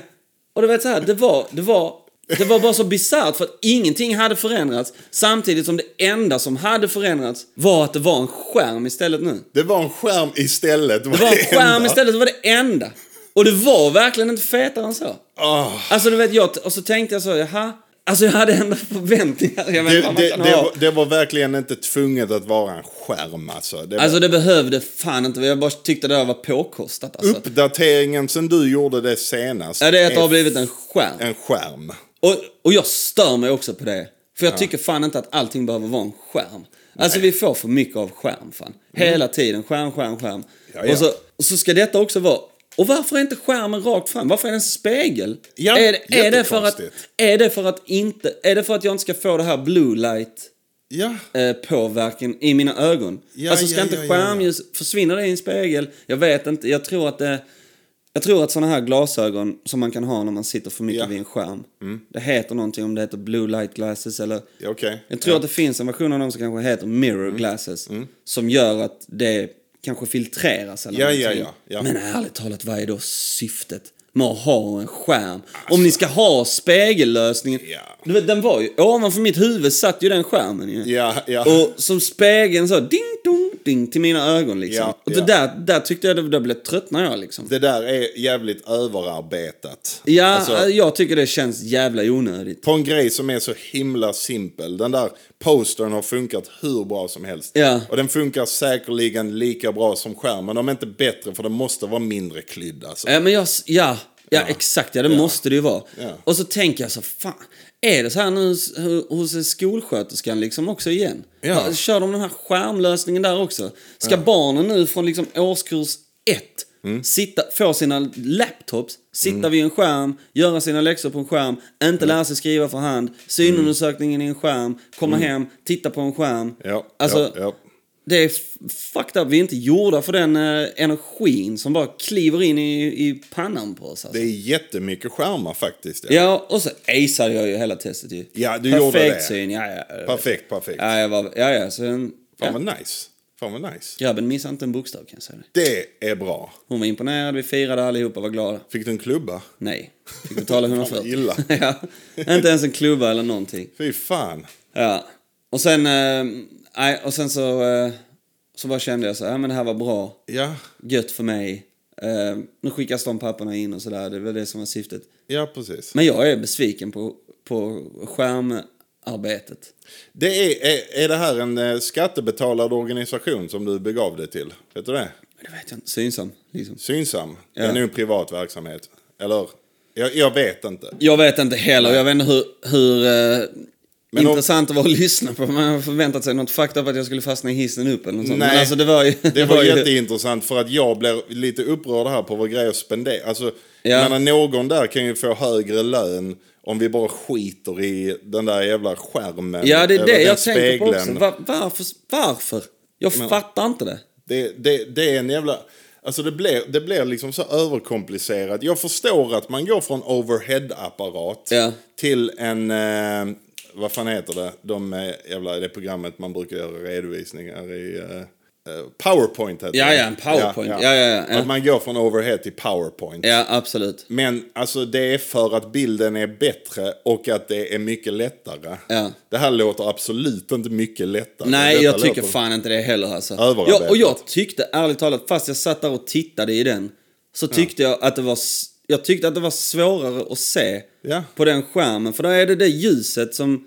Speaker 1: Och du vet så här, det var, det var, det var bara så bisarrt för att ingenting hade förändrats samtidigt som det enda som hade förändrats var att det var en skärm istället nu.
Speaker 2: Det var en skärm istället.
Speaker 1: Det var en skärm
Speaker 2: enda.
Speaker 1: istället, det var det enda. Och det var verkligen inte fetare än så.
Speaker 2: Ah.
Speaker 1: Alltså du vet, jag, och så tänkte jag så, jaha. Alltså jag hade ändå förväntningar. Jag vet,
Speaker 2: Det,
Speaker 1: inte vad man
Speaker 2: det, det,
Speaker 1: kan ha.
Speaker 2: var, det var verkligen inte tvunget att vara en skärm alltså. Det var
Speaker 1: Alltså det behövde fan inte, jag bara tyckte det här var påkostat alltså.
Speaker 2: uppdateringen sen du gjorde det senast.
Speaker 1: Ja, det är att det har blivit en skärm.
Speaker 2: en skärm.
Speaker 1: Och, och jag stör mig också på det. För jag tycker fan inte att allting behöver vara en skärm. Alltså vi får för mycket av skärm fan. Hela tiden skärm, skärm, skärm.
Speaker 2: Mm. Ja, ja.
Speaker 1: Och, så, och så ska detta också vara... Och varför är inte skärmen rakt fram? Varför är den spegel?
Speaker 2: Ja,
Speaker 1: är, det- är, det för att,
Speaker 2: jättekonstigt.
Speaker 1: är det för att inte... Är det för att jag inte ska få det här blue light
Speaker 2: Ja.
Speaker 1: eh, påverkan i mina ögon.
Speaker 2: Ja,
Speaker 1: alltså ska
Speaker 2: ja,
Speaker 1: inte
Speaker 2: ja, ja, ja.
Speaker 1: skärmljus, försvinner det i en spegel? Jag vet inte, jag tror att det... Jag tror att sådana här glasögon som man kan ha när man sitter för mycket
Speaker 2: Ja. Mm.
Speaker 1: vid en skärm. Det heter någonting om det heter blue light glasses eller...
Speaker 2: Ja, Mm. okej.
Speaker 1: Jag tror att det finns en version av dem som kanske heter mirror glasses. Som gör att det kanske filtreras eller
Speaker 2: Ja, ja,
Speaker 1: någonting.
Speaker 2: ja, ja.
Speaker 1: Men ärligt talat, vad är då syftet med att ha en skärm? Om ni ska ha spegellösningen.
Speaker 2: Alltså- Ja.
Speaker 1: Du vet, den var ju... Ovanför mitt huvud satt ju den skärmen ju.
Speaker 2: Ja, ja.
Speaker 1: Och som spegeln så ding dong ding till mina ögon liksom.
Speaker 2: Ja,
Speaker 1: och det
Speaker 2: ja.
Speaker 1: där, där tyckte jag, det, där blev tröttnade jag liksom.
Speaker 2: Det där är jävligt överarbetat.
Speaker 1: ja, eh,
Speaker 2: Alltså,
Speaker 1: jag tycker det känns jävla onödigt.
Speaker 2: på en grej som är så himla simpel. Den där postern har funkat hur bra som helst.
Speaker 1: Ja.
Speaker 2: Och den funkar säkerligen lika bra som skärmen, om inte bättre, för den måste vara mindre klydd. Alltså.
Speaker 1: Ja, men jag, s- ja, ja, exakt, ja det måste det ju vara.
Speaker 2: Ja.
Speaker 1: Och så tänker jag så, fan, är det så här nu hos, hos skolsköterskan liksom också igen?
Speaker 2: Ja.
Speaker 1: Kör de den här skärmlösningen där också? Ska barnen nu från liksom årskurs ett
Speaker 2: Mm.
Speaker 1: sitta, få sina laptops, sitta vid en skärm, göra sina läxor på en skärm, inte lära sig skriva för hand, synundersökningen i en skärm, komma hem, titta på en skärm.
Speaker 2: Mm. Ja,
Speaker 1: alltså,
Speaker 2: ja, ja.
Speaker 1: Det är f- fucked up. Vi är inte gjorda för den eh, energin som bara kliver in i, i pannan på oss. Alltså.
Speaker 2: Det är jättemycket skärmar faktiskt.
Speaker 1: Ja, och så aceade jag ju hela testet ju.
Speaker 2: Ja, du
Speaker 1: Perfekt
Speaker 2: gjorde det.
Speaker 1: syn, ja, ja.
Speaker 2: Perfekt, perfekt.
Speaker 1: Ja, jag var, ja, ja, så en,
Speaker 2: Fan
Speaker 1: ja.
Speaker 2: vad nice. Fan vad nice.
Speaker 1: Grabben missade inte en bokstav kan jag säga dig.
Speaker 2: Det är bra.
Speaker 1: Hon var imponerad, vi firade allihopa, var glada.
Speaker 2: Fick du en klubba?
Speaker 1: Nej, fick betala
Speaker 2: Fan,
Speaker 1: 140.
Speaker 2: vad illa.
Speaker 1: ja, inte ens en klubba eller någonting.
Speaker 2: Fy fan.
Speaker 1: Ja. Och sen, eh, nej, och sen så, eh, så bara kände jag så här, ja men det här var bra.
Speaker 2: Ja,
Speaker 1: Gött för mig. Eh, nu skickas de papperna in och sådär, det var det som var syftet.
Speaker 2: ja precis.
Speaker 1: Men jag är besviken på, på skärmarbetet.
Speaker 2: Det är, är, är det här en eh, skattebetalad organisation som du begav dig till? Vet du det?
Speaker 1: Men Det vet jag inte, synsam liksom.
Speaker 2: Synsam. Det
Speaker 1: Ja.
Speaker 2: är nog en privat verksamhet. Eller? Jag, jag vet inte.
Speaker 1: Jag vet inte heller, jag vet inte hur, hur eh,
Speaker 2: Men om-
Speaker 1: intressant det var att lyssna på. Man har förväntat sig något fakta på att jag skulle fastna i hissen upp eller något sånt. Men
Speaker 2: Nej.
Speaker 1: alltså det var ju...
Speaker 2: Det var
Speaker 1: ju-
Speaker 2: jätteintressant för att jag blir lite upprörd här på vad grejer spenderar. Alltså,
Speaker 1: Ja.
Speaker 2: jag menar, någon där kan ju få högre lön om vi bara skiter i den där jävla skärmen.
Speaker 1: Ja, det är
Speaker 2: eller
Speaker 1: det
Speaker 2: den
Speaker 1: jag tänker på också.
Speaker 2: spegeln.
Speaker 1: Var, varför? varför? Jag fattar inte det.
Speaker 2: Det, det, det är en jävla... Alltså det blir, det blir liksom så överkomplicerat. Jag förstår att man går från overhead-apparat
Speaker 1: Ja.
Speaker 2: till en... Eh, vad fan heter det? De eh, jävla, det programmet man brukar göra redovisningar i... Eh, eh, Powerpoint heter
Speaker 1: Ja,
Speaker 2: det.
Speaker 1: ja, en PowerPoint. Ja, ja, ja, ja.
Speaker 2: Att man går från overhead till powerpoint.
Speaker 1: Ja, absolut.
Speaker 2: Men alltså det är för att bilden är bättre och att det är mycket lättare.
Speaker 1: Ja.
Speaker 2: Det här låter absolut inte mycket lättare.
Speaker 1: Nej,
Speaker 2: Detta
Speaker 1: jag tycker
Speaker 2: låter-
Speaker 1: fan inte det heller alltså.
Speaker 2: Överarbetat.
Speaker 1: Jag, och jag tyckte ärligt talat, fast jag satt där och tittade i den, så tyckte jag att det var... s- Jag tyckte att det var svårare att se
Speaker 2: Ja.
Speaker 1: på den skärmen. För där är det det ljuset som...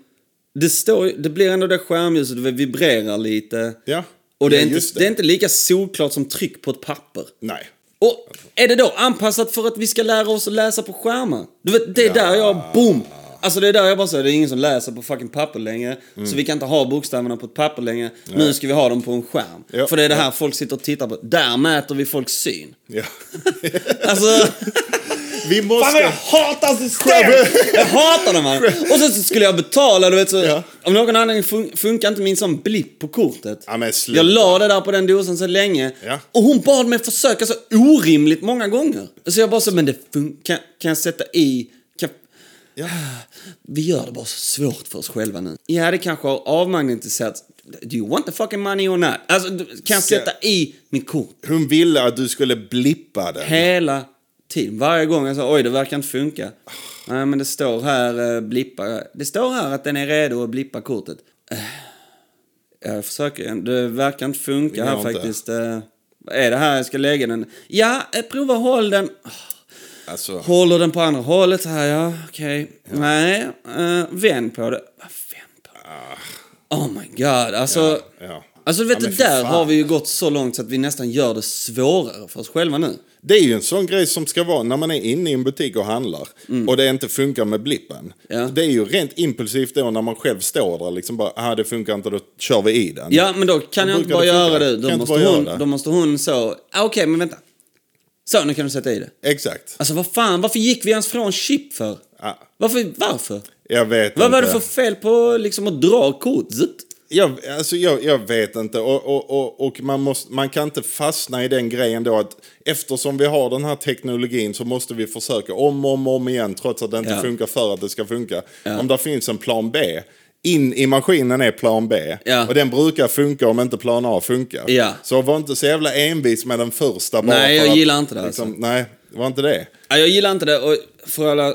Speaker 1: Det, står, ju- det blir ändå det skärmljuset, det vibrerar lite.
Speaker 2: Ja.
Speaker 1: Och det är,
Speaker 2: Ja,
Speaker 1: inte,
Speaker 2: just
Speaker 1: det.
Speaker 2: det.
Speaker 1: är inte lika solklart som tryck på ett papper.
Speaker 2: Nej.
Speaker 1: Och är det då anpassat för att vi ska lära oss att läsa på skärmar? Du vet, det är där jag, boom! Alltså det är där jag bara säger, det är ingen som läser på fucking papper längre.
Speaker 2: Mm.
Speaker 1: Så vi kan inte ha bokstäverna på ett papper längre. Nu ska vi ha dem på en skärm.
Speaker 2: Ja,
Speaker 1: För det är det
Speaker 2: ja.
Speaker 1: här folk sitter och tittar på. Där mäter vi folks syn.
Speaker 2: Ja.
Speaker 1: Alltså...
Speaker 2: Vi måste...
Speaker 1: Fan vad jag hatar system! jag hatar dem man. Och sen så skulle jag betala, du vet så...
Speaker 2: Ja.
Speaker 1: Av någon anledning fun funkar inte min sån blipp på kortet.
Speaker 2: Ja, men sluta.
Speaker 1: jag la det där på den dosan så länge.
Speaker 2: Ja.
Speaker 1: Och hon bad mig försöka så orimligt många gånger. Så jag bara så, men det funkar... Kan, kan jag sätta i... Kan...
Speaker 2: Ja.
Speaker 1: Vi gör det bara så svårt för oss själva nu. Ja, det kanske har avmagnetiserats. Do you want the fucking money or not? Alltså, du- kan jag
Speaker 2: Ska-
Speaker 1: sätta i mitt kort?
Speaker 2: Hon ville att du skulle blippa den.
Speaker 1: Hela tiden. Varje gång jag sa oj, det verkar inte funka. Nej, men det står här eh, blippa. Det står här att den är redo att blippa kortet. Eh, Jag försöker igen. Det verkar inte funka
Speaker 2: Det
Speaker 1: här
Speaker 2: går inte.
Speaker 1: faktiskt. Eh, Vad är det här jag ska lägga den? Ja, eh, prova håll den.
Speaker 2: Alltså,
Speaker 1: Håller den på andra hållet så här, ja, okej. Nej, eh, vänd på det. Vad vänd på det? Oh my god, alltså.
Speaker 2: Ah. Ja, ja.
Speaker 1: Alltså du vet,
Speaker 2: Ja, men
Speaker 1: det
Speaker 2: fy
Speaker 1: där
Speaker 2: fan.
Speaker 1: har vi ju gått så långt så att vi nästan gör det svårare för oss själva nu.
Speaker 2: det är ju en sån grej som ska vara när man är inne i en butik och handlar och det inte funkar med blippen.
Speaker 1: Mm. Ja.
Speaker 2: Det är ju rent impulsivt då när man själv står där liksom bara, ah det funkar inte, då kör vi i den.
Speaker 1: Ja, men då kan jag inte
Speaker 2: brukar
Speaker 1: bara
Speaker 2: det funka.
Speaker 1: göra det.
Speaker 2: Kan
Speaker 1: Då
Speaker 2: inte
Speaker 1: måste,
Speaker 2: bara göra
Speaker 1: hon,
Speaker 2: det.
Speaker 1: då måste hon så... Ah, Okej, men vänta. Så, nu kan du sätta i det.
Speaker 2: Exakt.
Speaker 1: Alltså vad fan, varför gick vi ens från chip för?
Speaker 2: Ja.
Speaker 1: Varför? varför?
Speaker 2: Ah. Jag vet
Speaker 1: Vad
Speaker 2: inte.
Speaker 1: var det för fel på liksom att dra kortet?
Speaker 2: Jag, alltså jag, jag vet inte. Och, och, och, och man, måste, man kan inte fastna i den grejen då att eftersom vi har den här teknologin så måste vi försöka om och om, och om igen trots att det inte
Speaker 1: Ja.
Speaker 2: funkar för att det ska funka. Om det finns en plan B. In i maskinen är plan B.
Speaker 1: Ja.
Speaker 2: Och den brukar funka om inte plan A funkar.
Speaker 1: Ja.
Speaker 2: Så var inte så jävla envis med den första bara
Speaker 1: Nej,
Speaker 2: för
Speaker 1: jag
Speaker 2: att, liksom,
Speaker 1: gillar inte det alltså.
Speaker 2: Nej, var inte det.
Speaker 1: Ja, Ah, jag gillar inte det. Och för alla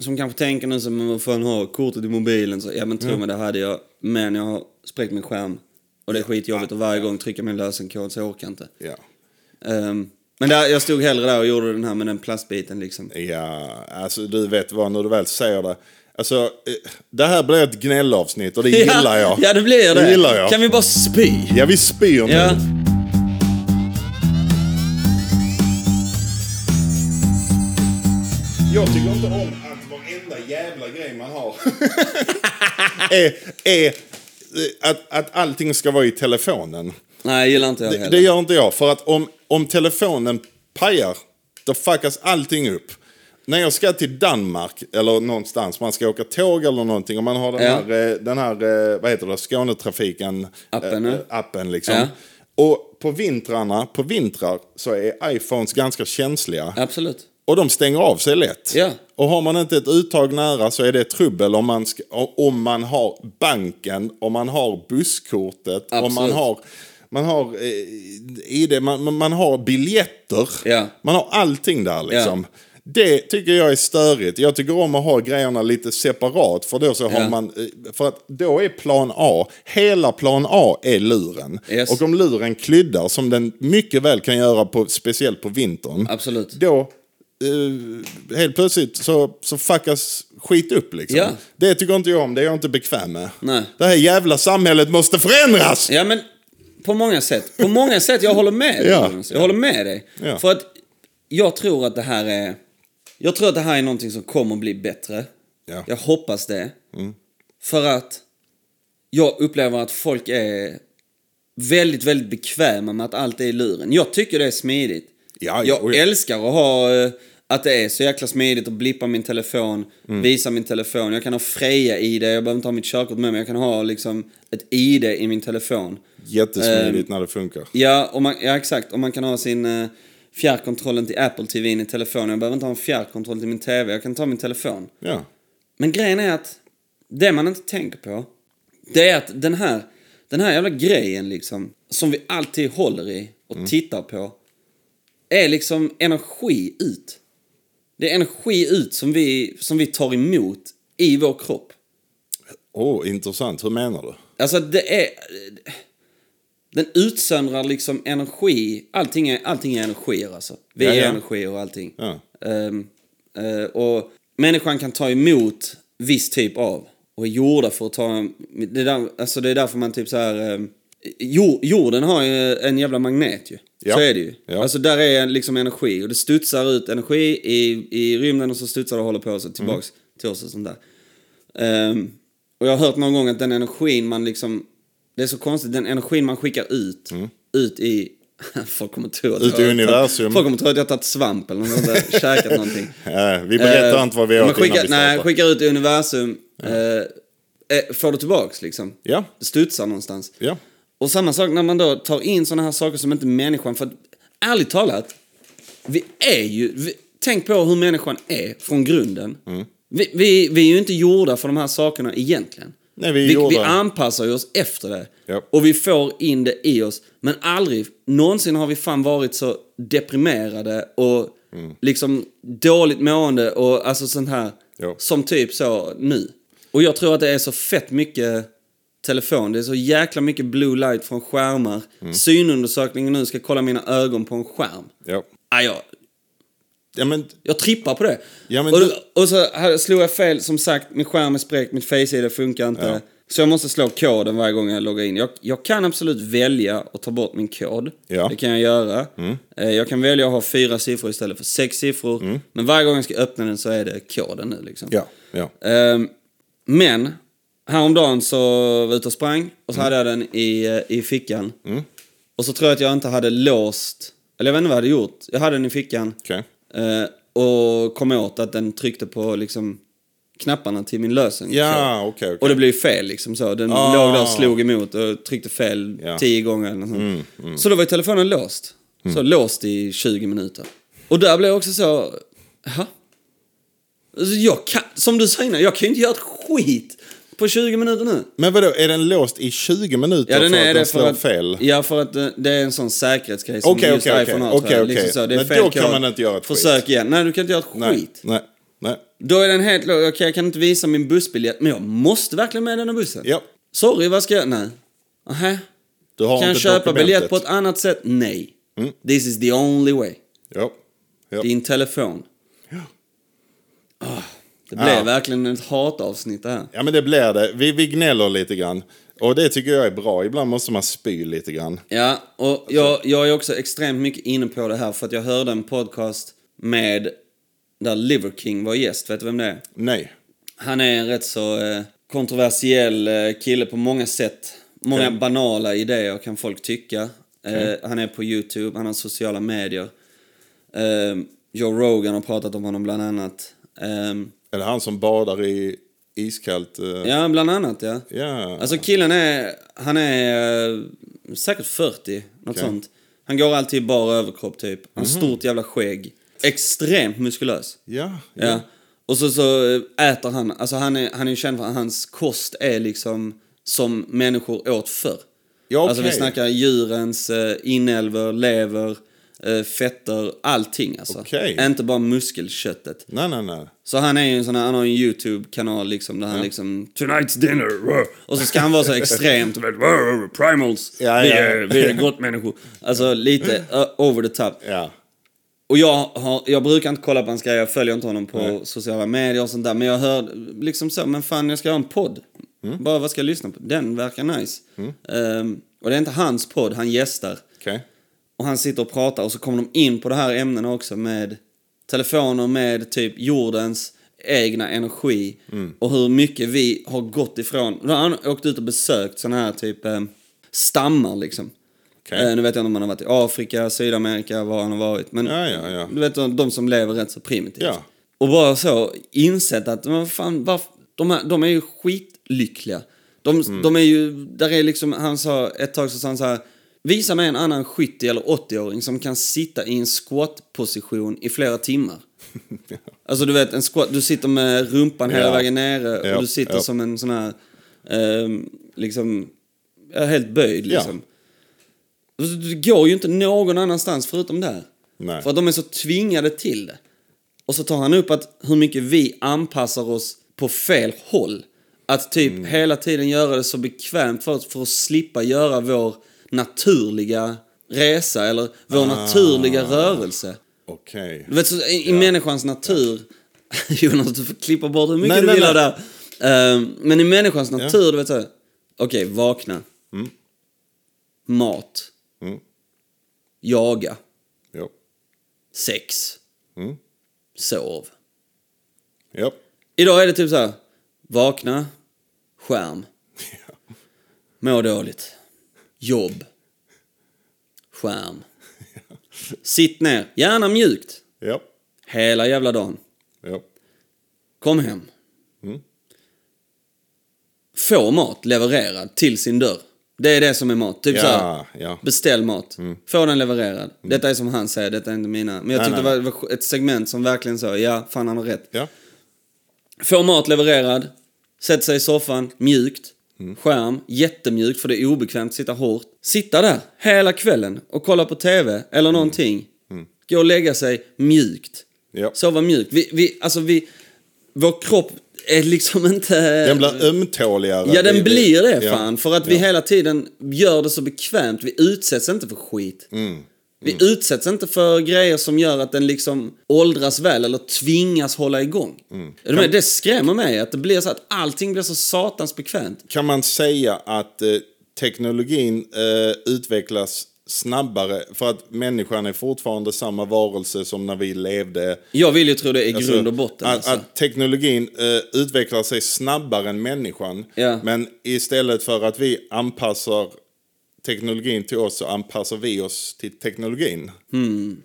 Speaker 1: som kanske tänker nu som "Men vad fan har kortet i mobilen? Så, ja, men
Speaker 2: Mm.
Speaker 1: tro mig, det hade jag. Men jag har spräckt min skärm. Och det är skitjobbigt att varje gång trycka min lösenkod så jag orkar inte.
Speaker 2: Ja.
Speaker 1: Ehm, men där, jag stod hellre där och gjorde den här med den plastbiten liksom.
Speaker 2: Ja, alltså du vet vad, när du väl säger det. Alltså, eh, det här blir ett gnällavsnitt och det gillar jag.
Speaker 1: Ja, det blir det.
Speaker 2: Det gillar jag.
Speaker 1: Kan vi bara spy?
Speaker 2: Ja, vi spyr nu.
Speaker 1: Ja.
Speaker 2: Jag tycker inte om att varenda jävla grej man har är, är eh, att, att allting ska vara i telefonen.
Speaker 1: Nej, jag gillar inte jag
Speaker 2: Det,
Speaker 1: heller.
Speaker 2: det gör inte jag, för att om, om telefonen pajar, då fuckas allting upp. När jag ska till Danmark eller någonstans, man ska åka tåg eller någonting och man har den
Speaker 1: Ja.
Speaker 2: här, eh, den här eh, vad heter det, Skånetrafiken
Speaker 1: Appen,
Speaker 2: eh,
Speaker 1: ja.
Speaker 2: appen liksom.
Speaker 1: Ja.
Speaker 2: Och på vintrarna, på vintrar så är iPhones ganska känsliga.
Speaker 1: Absolut.
Speaker 2: Och de stänger av sig lätt.
Speaker 1: Ja.
Speaker 2: Och har man inte ett uttag nära så är det trubbel om man, ska, om man har banken, om man har busskortet, om man
Speaker 1: Absolut.
Speaker 2: har, man har eh, ID, man, man- man har biljetter.
Speaker 1: Ja.
Speaker 2: Man har allting där liksom. Det tycker jag är störigt. Jag tycker om att ha grejerna lite separat. För då så
Speaker 1: Ja.
Speaker 2: har man... eh, För att då är plan A, hela plan A är luren.
Speaker 1: Yes.
Speaker 2: Och om luren kryddar, som den mycket väl kan göra, på, speciellt på vintern.
Speaker 1: Absolut.
Speaker 2: Då, eh, helt plötsligt så, så fuckas skit upp liksom.
Speaker 1: Ja.
Speaker 2: Det tycker inte jag om, det är jag inte bekväm med.
Speaker 1: Nej.
Speaker 2: Det här jävla samhället måste förändras!
Speaker 1: Ja, men på många sätt. På många sätt, jag håller med dig.
Speaker 2: Ja.
Speaker 1: Jonas. Jag håller med dig.
Speaker 2: Ja.
Speaker 1: För att jag tror att det här är... Jag tror att det här är någonting som kommer att bli bättre.
Speaker 2: Ja. Mm.
Speaker 1: Jag hoppas det. För att jag upplever att folk är väldigt, väldigt bekväma med att allt är i luren. Jag tycker det är smidigt.
Speaker 2: Ja, ja,
Speaker 1: jag
Speaker 2: oj.
Speaker 1: älskar att ha... eh, Att det är så jäkla smidigt att blippa min telefon, visa min telefon. Jag kan ha Freja-ID, jag behöver inte ha mitt körkort med mig. Jag kan ha liksom ett ID i min telefon. Ehm.
Speaker 2: Jättesmidigt när det funkar.
Speaker 1: Ja, och man, ja exakt. Och man kan ha sin eh, fjärrkontrollen till Apple TV in i telefonen. Jag behöver inte ha en fjärrkontroll till min TV. Jag kan ta min telefon.
Speaker 2: Ja.
Speaker 1: Men grejen är att det man inte tänker på, det är att den här, den här jävla grejen liksom, som vi alltid håller i och tittar på, är liksom energi ut. Det är energi ut som vi, som vi tar emot i vår kropp.
Speaker 2: Åh, oh, intressant. Hur menar du?
Speaker 1: Alltså det är... Den utsöndrar liksom energi. Allting är, allting är energier alltså. Vi
Speaker 2: Ja, ja.
Speaker 1: är energier och allting.
Speaker 2: Ja.
Speaker 1: Ehm, eh, och människan kan ta emot viss typ av. Och är gjorda för att ta... Det är, där, alltså det är därför man typ så här... ehm, jor- Jorden har ju en jävla magnet ju.
Speaker 2: Ja.
Speaker 1: Så är det ju.
Speaker 2: Ja.
Speaker 1: Alltså där är liksom energi. Och det studsar ut energi i, i rymden och så studsar det och håller på så tillbaks
Speaker 2: Mm.
Speaker 1: till oss och sånt där. Ehm, och jag har hört någon gång att den energin man liksom... Det är så konstigt, den energin man skickar ut, ut i Folk kommer tro att
Speaker 2: Ute Mm. i universum.
Speaker 1: Folk kommer tro att jag har tagit svamp eller något, eller käkat någonting.
Speaker 2: Eh, vi berättar
Speaker 1: Eh,
Speaker 2: inte vad vi
Speaker 1: men
Speaker 2: åt innan
Speaker 1: skickar-
Speaker 2: vi
Speaker 1: Nej,
Speaker 2: startar.
Speaker 1: skickar ut i universum. eh, eh, får det tillbaks liksom.
Speaker 2: Ja.
Speaker 1: Studsar någonstans.
Speaker 2: Ja.
Speaker 1: Och samma sak när man då tar in sådana här saker som inte människan... För att, ärligt talat, vi är ju... Vi, tänk på hur människan är från grunden.
Speaker 2: Mm.
Speaker 1: Vi, vi, vi är ju inte gjorda för de här sakerna egentligen.
Speaker 2: Nej, vi är
Speaker 1: vi,
Speaker 2: gjorda.
Speaker 1: vi anpassar ju oss efter det.
Speaker 2: Ja.
Speaker 1: Och vi får in det i oss. Men aldrig någonsin har vi fan varit så deprimerade och liksom dåligt mående och alltså sånt här.
Speaker 2: Ja.
Speaker 1: Som typ så nu. Och jag tror att det är så fett mycket telefon. Det är så jäkla mycket blue light från skärmar. Synundersökningen nu ska kolla mina ögon på en skärm.
Speaker 2: Ja.
Speaker 1: Ah, jag,
Speaker 2: ja, men
Speaker 1: jag trippar på det.
Speaker 2: Ja, men
Speaker 1: och,
Speaker 2: du-
Speaker 1: och så här slog jag fel, som sagt, min skärm är spräckt, mitt face-id funkar inte.
Speaker 2: Ja.
Speaker 1: Så jag måste slå koden varje gång jag loggar in. Jag, jag kan absolut välja att ta bort min kod.
Speaker 2: Ja. Mm.
Speaker 1: Det kan jag göra. Eh, Jag kan välja att ha fyra siffror istället för sex siffror. Men varje gång jag ska öppna den så är det koden nu liksom.
Speaker 2: Mm. Ja, ja.
Speaker 1: Ehm, men häromdagen så var jag ute och sprang och så hade jag den i, eh, i fickan.
Speaker 2: Mm.
Speaker 1: Och så tror jag att jag inte hade låst, eller jag vet inte vad jag hade gjort. Jag hade den i fickan
Speaker 2: Okej.
Speaker 1: Eh, och kom åt att den tryckte på liksom knapparna till min lösen.
Speaker 2: Ja,
Speaker 1: Så.
Speaker 2: okej, okej.
Speaker 1: Och det blev ju fel liksom så. Den
Speaker 2: Ah.
Speaker 1: låg där och slog emot och tryckte fel
Speaker 2: Ja. Mm,
Speaker 1: tio gånger eller något sånt. Så då var ju telefonen låst. Så låst i 20 minuter. Och där blev jag också så, jaha. Alltså, Jag kan, som du sa innan, jag kan ju inte göra ett skit på 20 minuter nu.
Speaker 2: Men vadå, är den låst i 20 minuter
Speaker 1: Ja, den
Speaker 2: för
Speaker 1: är
Speaker 2: att
Speaker 1: det
Speaker 2: den
Speaker 1: för
Speaker 2: slår
Speaker 1: att,
Speaker 2: fel?
Speaker 1: Ja, för att eh, det är en sån säkerhetsgrej som
Speaker 2: Okej,
Speaker 1: just
Speaker 2: okej,
Speaker 1: iPhone har.
Speaker 2: okej.
Speaker 1: tror jag.
Speaker 2: Okej,
Speaker 1: liksom så, det är
Speaker 2: okej. Men
Speaker 1: fel
Speaker 2: då kan
Speaker 1: kod.
Speaker 2: man inte göra ett skit.
Speaker 1: Försök igen. Nej, du kan inte göra ett
Speaker 2: Nej,
Speaker 1: skit.
Speaker 2: nej, nej.
Speaker 1: Då är den helt låg. Okej, jag kan inte visa min bussbiljett, men jag måste verkligen med den här bussen.
Speaker 2: Ja.
Speaker 1: Sorry, vad ska jag... Nej. Aha.
Speaker 2: Du har
Speaker 1: Kan jag
Speaker 2: inte
Speaker 1: köpa biljett
Speaker 2: dokumentet.
Speaker 1: på ett annat sätt? Nej. This is the only way.
Speaker 2: Ja. ja.
Speaker 1: Din telefon. Ah, det blev
Speaker 2: Ja.
Speaker 1: verkligen ett hatavsnitt det här.
Speaker 2: ja, men det blir det. Vi, vi gnäller lite grann. Och det tycker jag är bra. Ibland måste man spy lite grann.
Speaker 1: Ja, och
Speaker 2: Alltså-
Speaker 1: jag, jag är också extremt mycket inne på det här för att jag hörde en podcast med där Liver King var gäst. Vet du vem det är?
Speaker 2: Nej.
Speaker 1: Han är en rätt så eh, kontroversiell eh, kille på många sätt. Många
Speaker 2: Okej.
Speaker 1: banala idéer kan folk tycka. Eh, han är på YouTube, han har sociala medier. Eh, Joe Rogan har pratat om honom bland annat. Eh,
Speaker 2: Är det han som badar i iskallt... eh,
Speaker 1: ja, bland annat ja.
Speaker 2: ja.
Speaker 1: Alltså killen är, han är eh, säkert 40, något
Speaker 2: Okej. Mhm.
Speaker 1: sånt. Han går alltid i bar överkropp typ. Han har stort jävla skägg. Extremt muskulös.
Speaker 2: ja.
Speaker 1: Ja. Och så, så äter han, alltså han är, han är ju känd för att hans kost är liksom som människor åt förr.
Speaker 2: Ja, okej.
Speaker 1: Alltså vi snackar djurens eh, inälvor, lever, eh, fetter, allting alltså.
Speaker 2: Okej.
Speaker 1: Inte bara muskelköttet.
Speaker 2: Nej, nej, nej.
Speaker 1: Så han är ju en sån här, han har ju en YouTube-kanal liksom där han liksom Tonight's dinner! rah." Och så ska han vara så extremt du vet, "Rah, rah, primals! eh,
Speaker 2: Ja,
Speaker 1: vi,
Speaker 2: ja.
Speaker 1: är, vi är gott människor. Alltså lite ö- over the top.
Speaker 2: Ja.
Speaker 1: Och jag, har, jag brukar inte kolla på hans grejer, jag följer inte honom på sociala medier och sånt där. Men jag hör liksom så, men fan jag ska ha en podd.
Speaker 2: Mm.
Speaker 1: Bara vad ska jag lyssna på? Den verkar nice. Ehm, och det är inte hans podd, han gästar.
Speaker 2: Okej.
Speaker 1: Och han sitter och pratar och så kommer de in på det här ämnena också med telefoner med typ jordens egna energi
Speaker 2: Mm.
Speaker 1: och hur mycket vi har gått ifrån. Då har han åkt ut och besökt sådana här typ eh, stammar liksom.
Speaker 2: Okej.
Speaker 1: Eh, nu vet jag inte om han har varit i Afrika, Sydamerika, var han har varit. Men
Speaker 2: Ja, ja, ja.
Speaker 1: du vet de som lever rätt så primitivt.
Speaker 2: Ja.
Speaker 1: Och bara så insett att men fan, varf- de, här, de är ju skitlyckliga. De,
Speaker 2: Mm.
Speaker 1: de är ju, där är liksom, han sa ett tag så sa han så här, visa mig en annan 70 eller 80-åring som kan sitta i en squat-position i flera timmar. Alltså du vet, en squat, du sitter med rumpan hela
Speaker 2: Ja.
Speaker 1: vägen nere och
Speaker 2: Ja,
Speaker 1: du sitter
Speaker 2: ja.
Speaker 1: som en sån här, ehm, liksom, ja, helt böjd
Speaker 2: Ja.
Speaker 1: liksom. Alltså, Du går ju inte någon annanstans förutom där.
Speaker 2: Nej.
Speaker 1: För att de är så tvingade till det. Och så tar han upp att hur mycket vi anpassar oss på fel håll. Att typ
Speaker 2: Mm.
Speaker 1: hela tiden göra det så bekvämt för oss för att slippa göra vår naturliga resa eller
Speaker 2: Ah.
Speaker 1: vår naturliga rörelse.
Speaker 2: Okej.
Speaker 1: Du vet, så, i, i människans natur... Jonas, du får klippa bort hur mycket
Speaker 2: Nej,
Speaker 1: du
Speaker 2: nej,
Speaker 1: vill
Speaker 2: nej.
Speaker 1: av det här. Ehm, men i människans natur, du vet så här, Okej, vakna. Mat.
Speaker 2: Mm.
Speaker 1: Jaga.
Speaker 2: Ja.
Speaker 1: Sex.
Speaker 2: Mm.
Speaker 1: Sov.
Speaker 2: Ja.
Speaker 1: Idag är det typ så här. Vakna. Skärm. Må dåligt. Jobb. Skärm. Sitt ner, gärna mjukt.
Speaker 2: Ja,
Speaker 1: Hela jävla dagen.
Speaker 2: ja,
Speaker 1: Kom hem.
Speaker 2: Mm.
Speaker 1: Få mat levererad till sin dörr. Det är det som är mat. Typ
Speaker 2: Ja,
Speaker 1: så här,
Speaker 2: ja. Mm.
Speaker 1: beställ mat. Få den levererad. Detta är som han säger, detta är inte mina. Men jag
Speaker 2: Nej,
Speaker 1: tyckte
Speaker 2: nej.
Speaker 1: det var- var ett segment som verkligen sa, ja, fan han har rätt.
Speaker 2: ja.
Speaker 1: Får mat levererad, sätter sig i soffan, mjukt,
Speaker 2: Mm.
Speaker 1: skärm, jättemjukt för det är obekvämt att sitta hårt. Sitta där hela kvällen och kolla på TV
Speaker 2: Mm.
Speaker 1: eller någonting. Gå och lägga sig mjukt.
Speaker 2: Ja.
Speaker 1: Sova mjukt. Vi, vi, alltså vi, vår kropp är liksom inte...
Speaker 2: Den blir ömtåligare.
Speaker 1: Eh, Ja,
Speaker 2: Vi-
Speaker 1: den
Speaker 2: vi-
Speaker 1: blir det
Speaker 2: ja.
Speaker 1: fan. För att vi hela tiden gör det så bekvämt. Vi utsätts inte för skit.
Speaker 2: Mm.
Speaker 1: Vi utsätts inte för grejer som gör att den liksom åldras väl eller tvingas hålla igång.
Speaker 2: Mm.
Speaker 1: Är du med? Det skrämmer mig att det blir så att allting blir så satans bekvämt.
Speaker 2: Kan man säga att eh, teknologin eh, utvecklas snabbare för att människan är fortfarande samma varelse som när vi levde
Speaker 1: Jag vill ju tro det är grund och
Speaker 2: Alltså,
Speaker 1: botten.
Speaker 2: Att,
Speaker 1: alltså.
Speaker 2: att teknologin eh, utvecklar sig snabbare än människan.
Speaker 1: Ja.
Speaker 2: Men istället för att vi anpassar teknologin till oss så anpassar vi oss till teknologin.
Speaker 1: Hmm.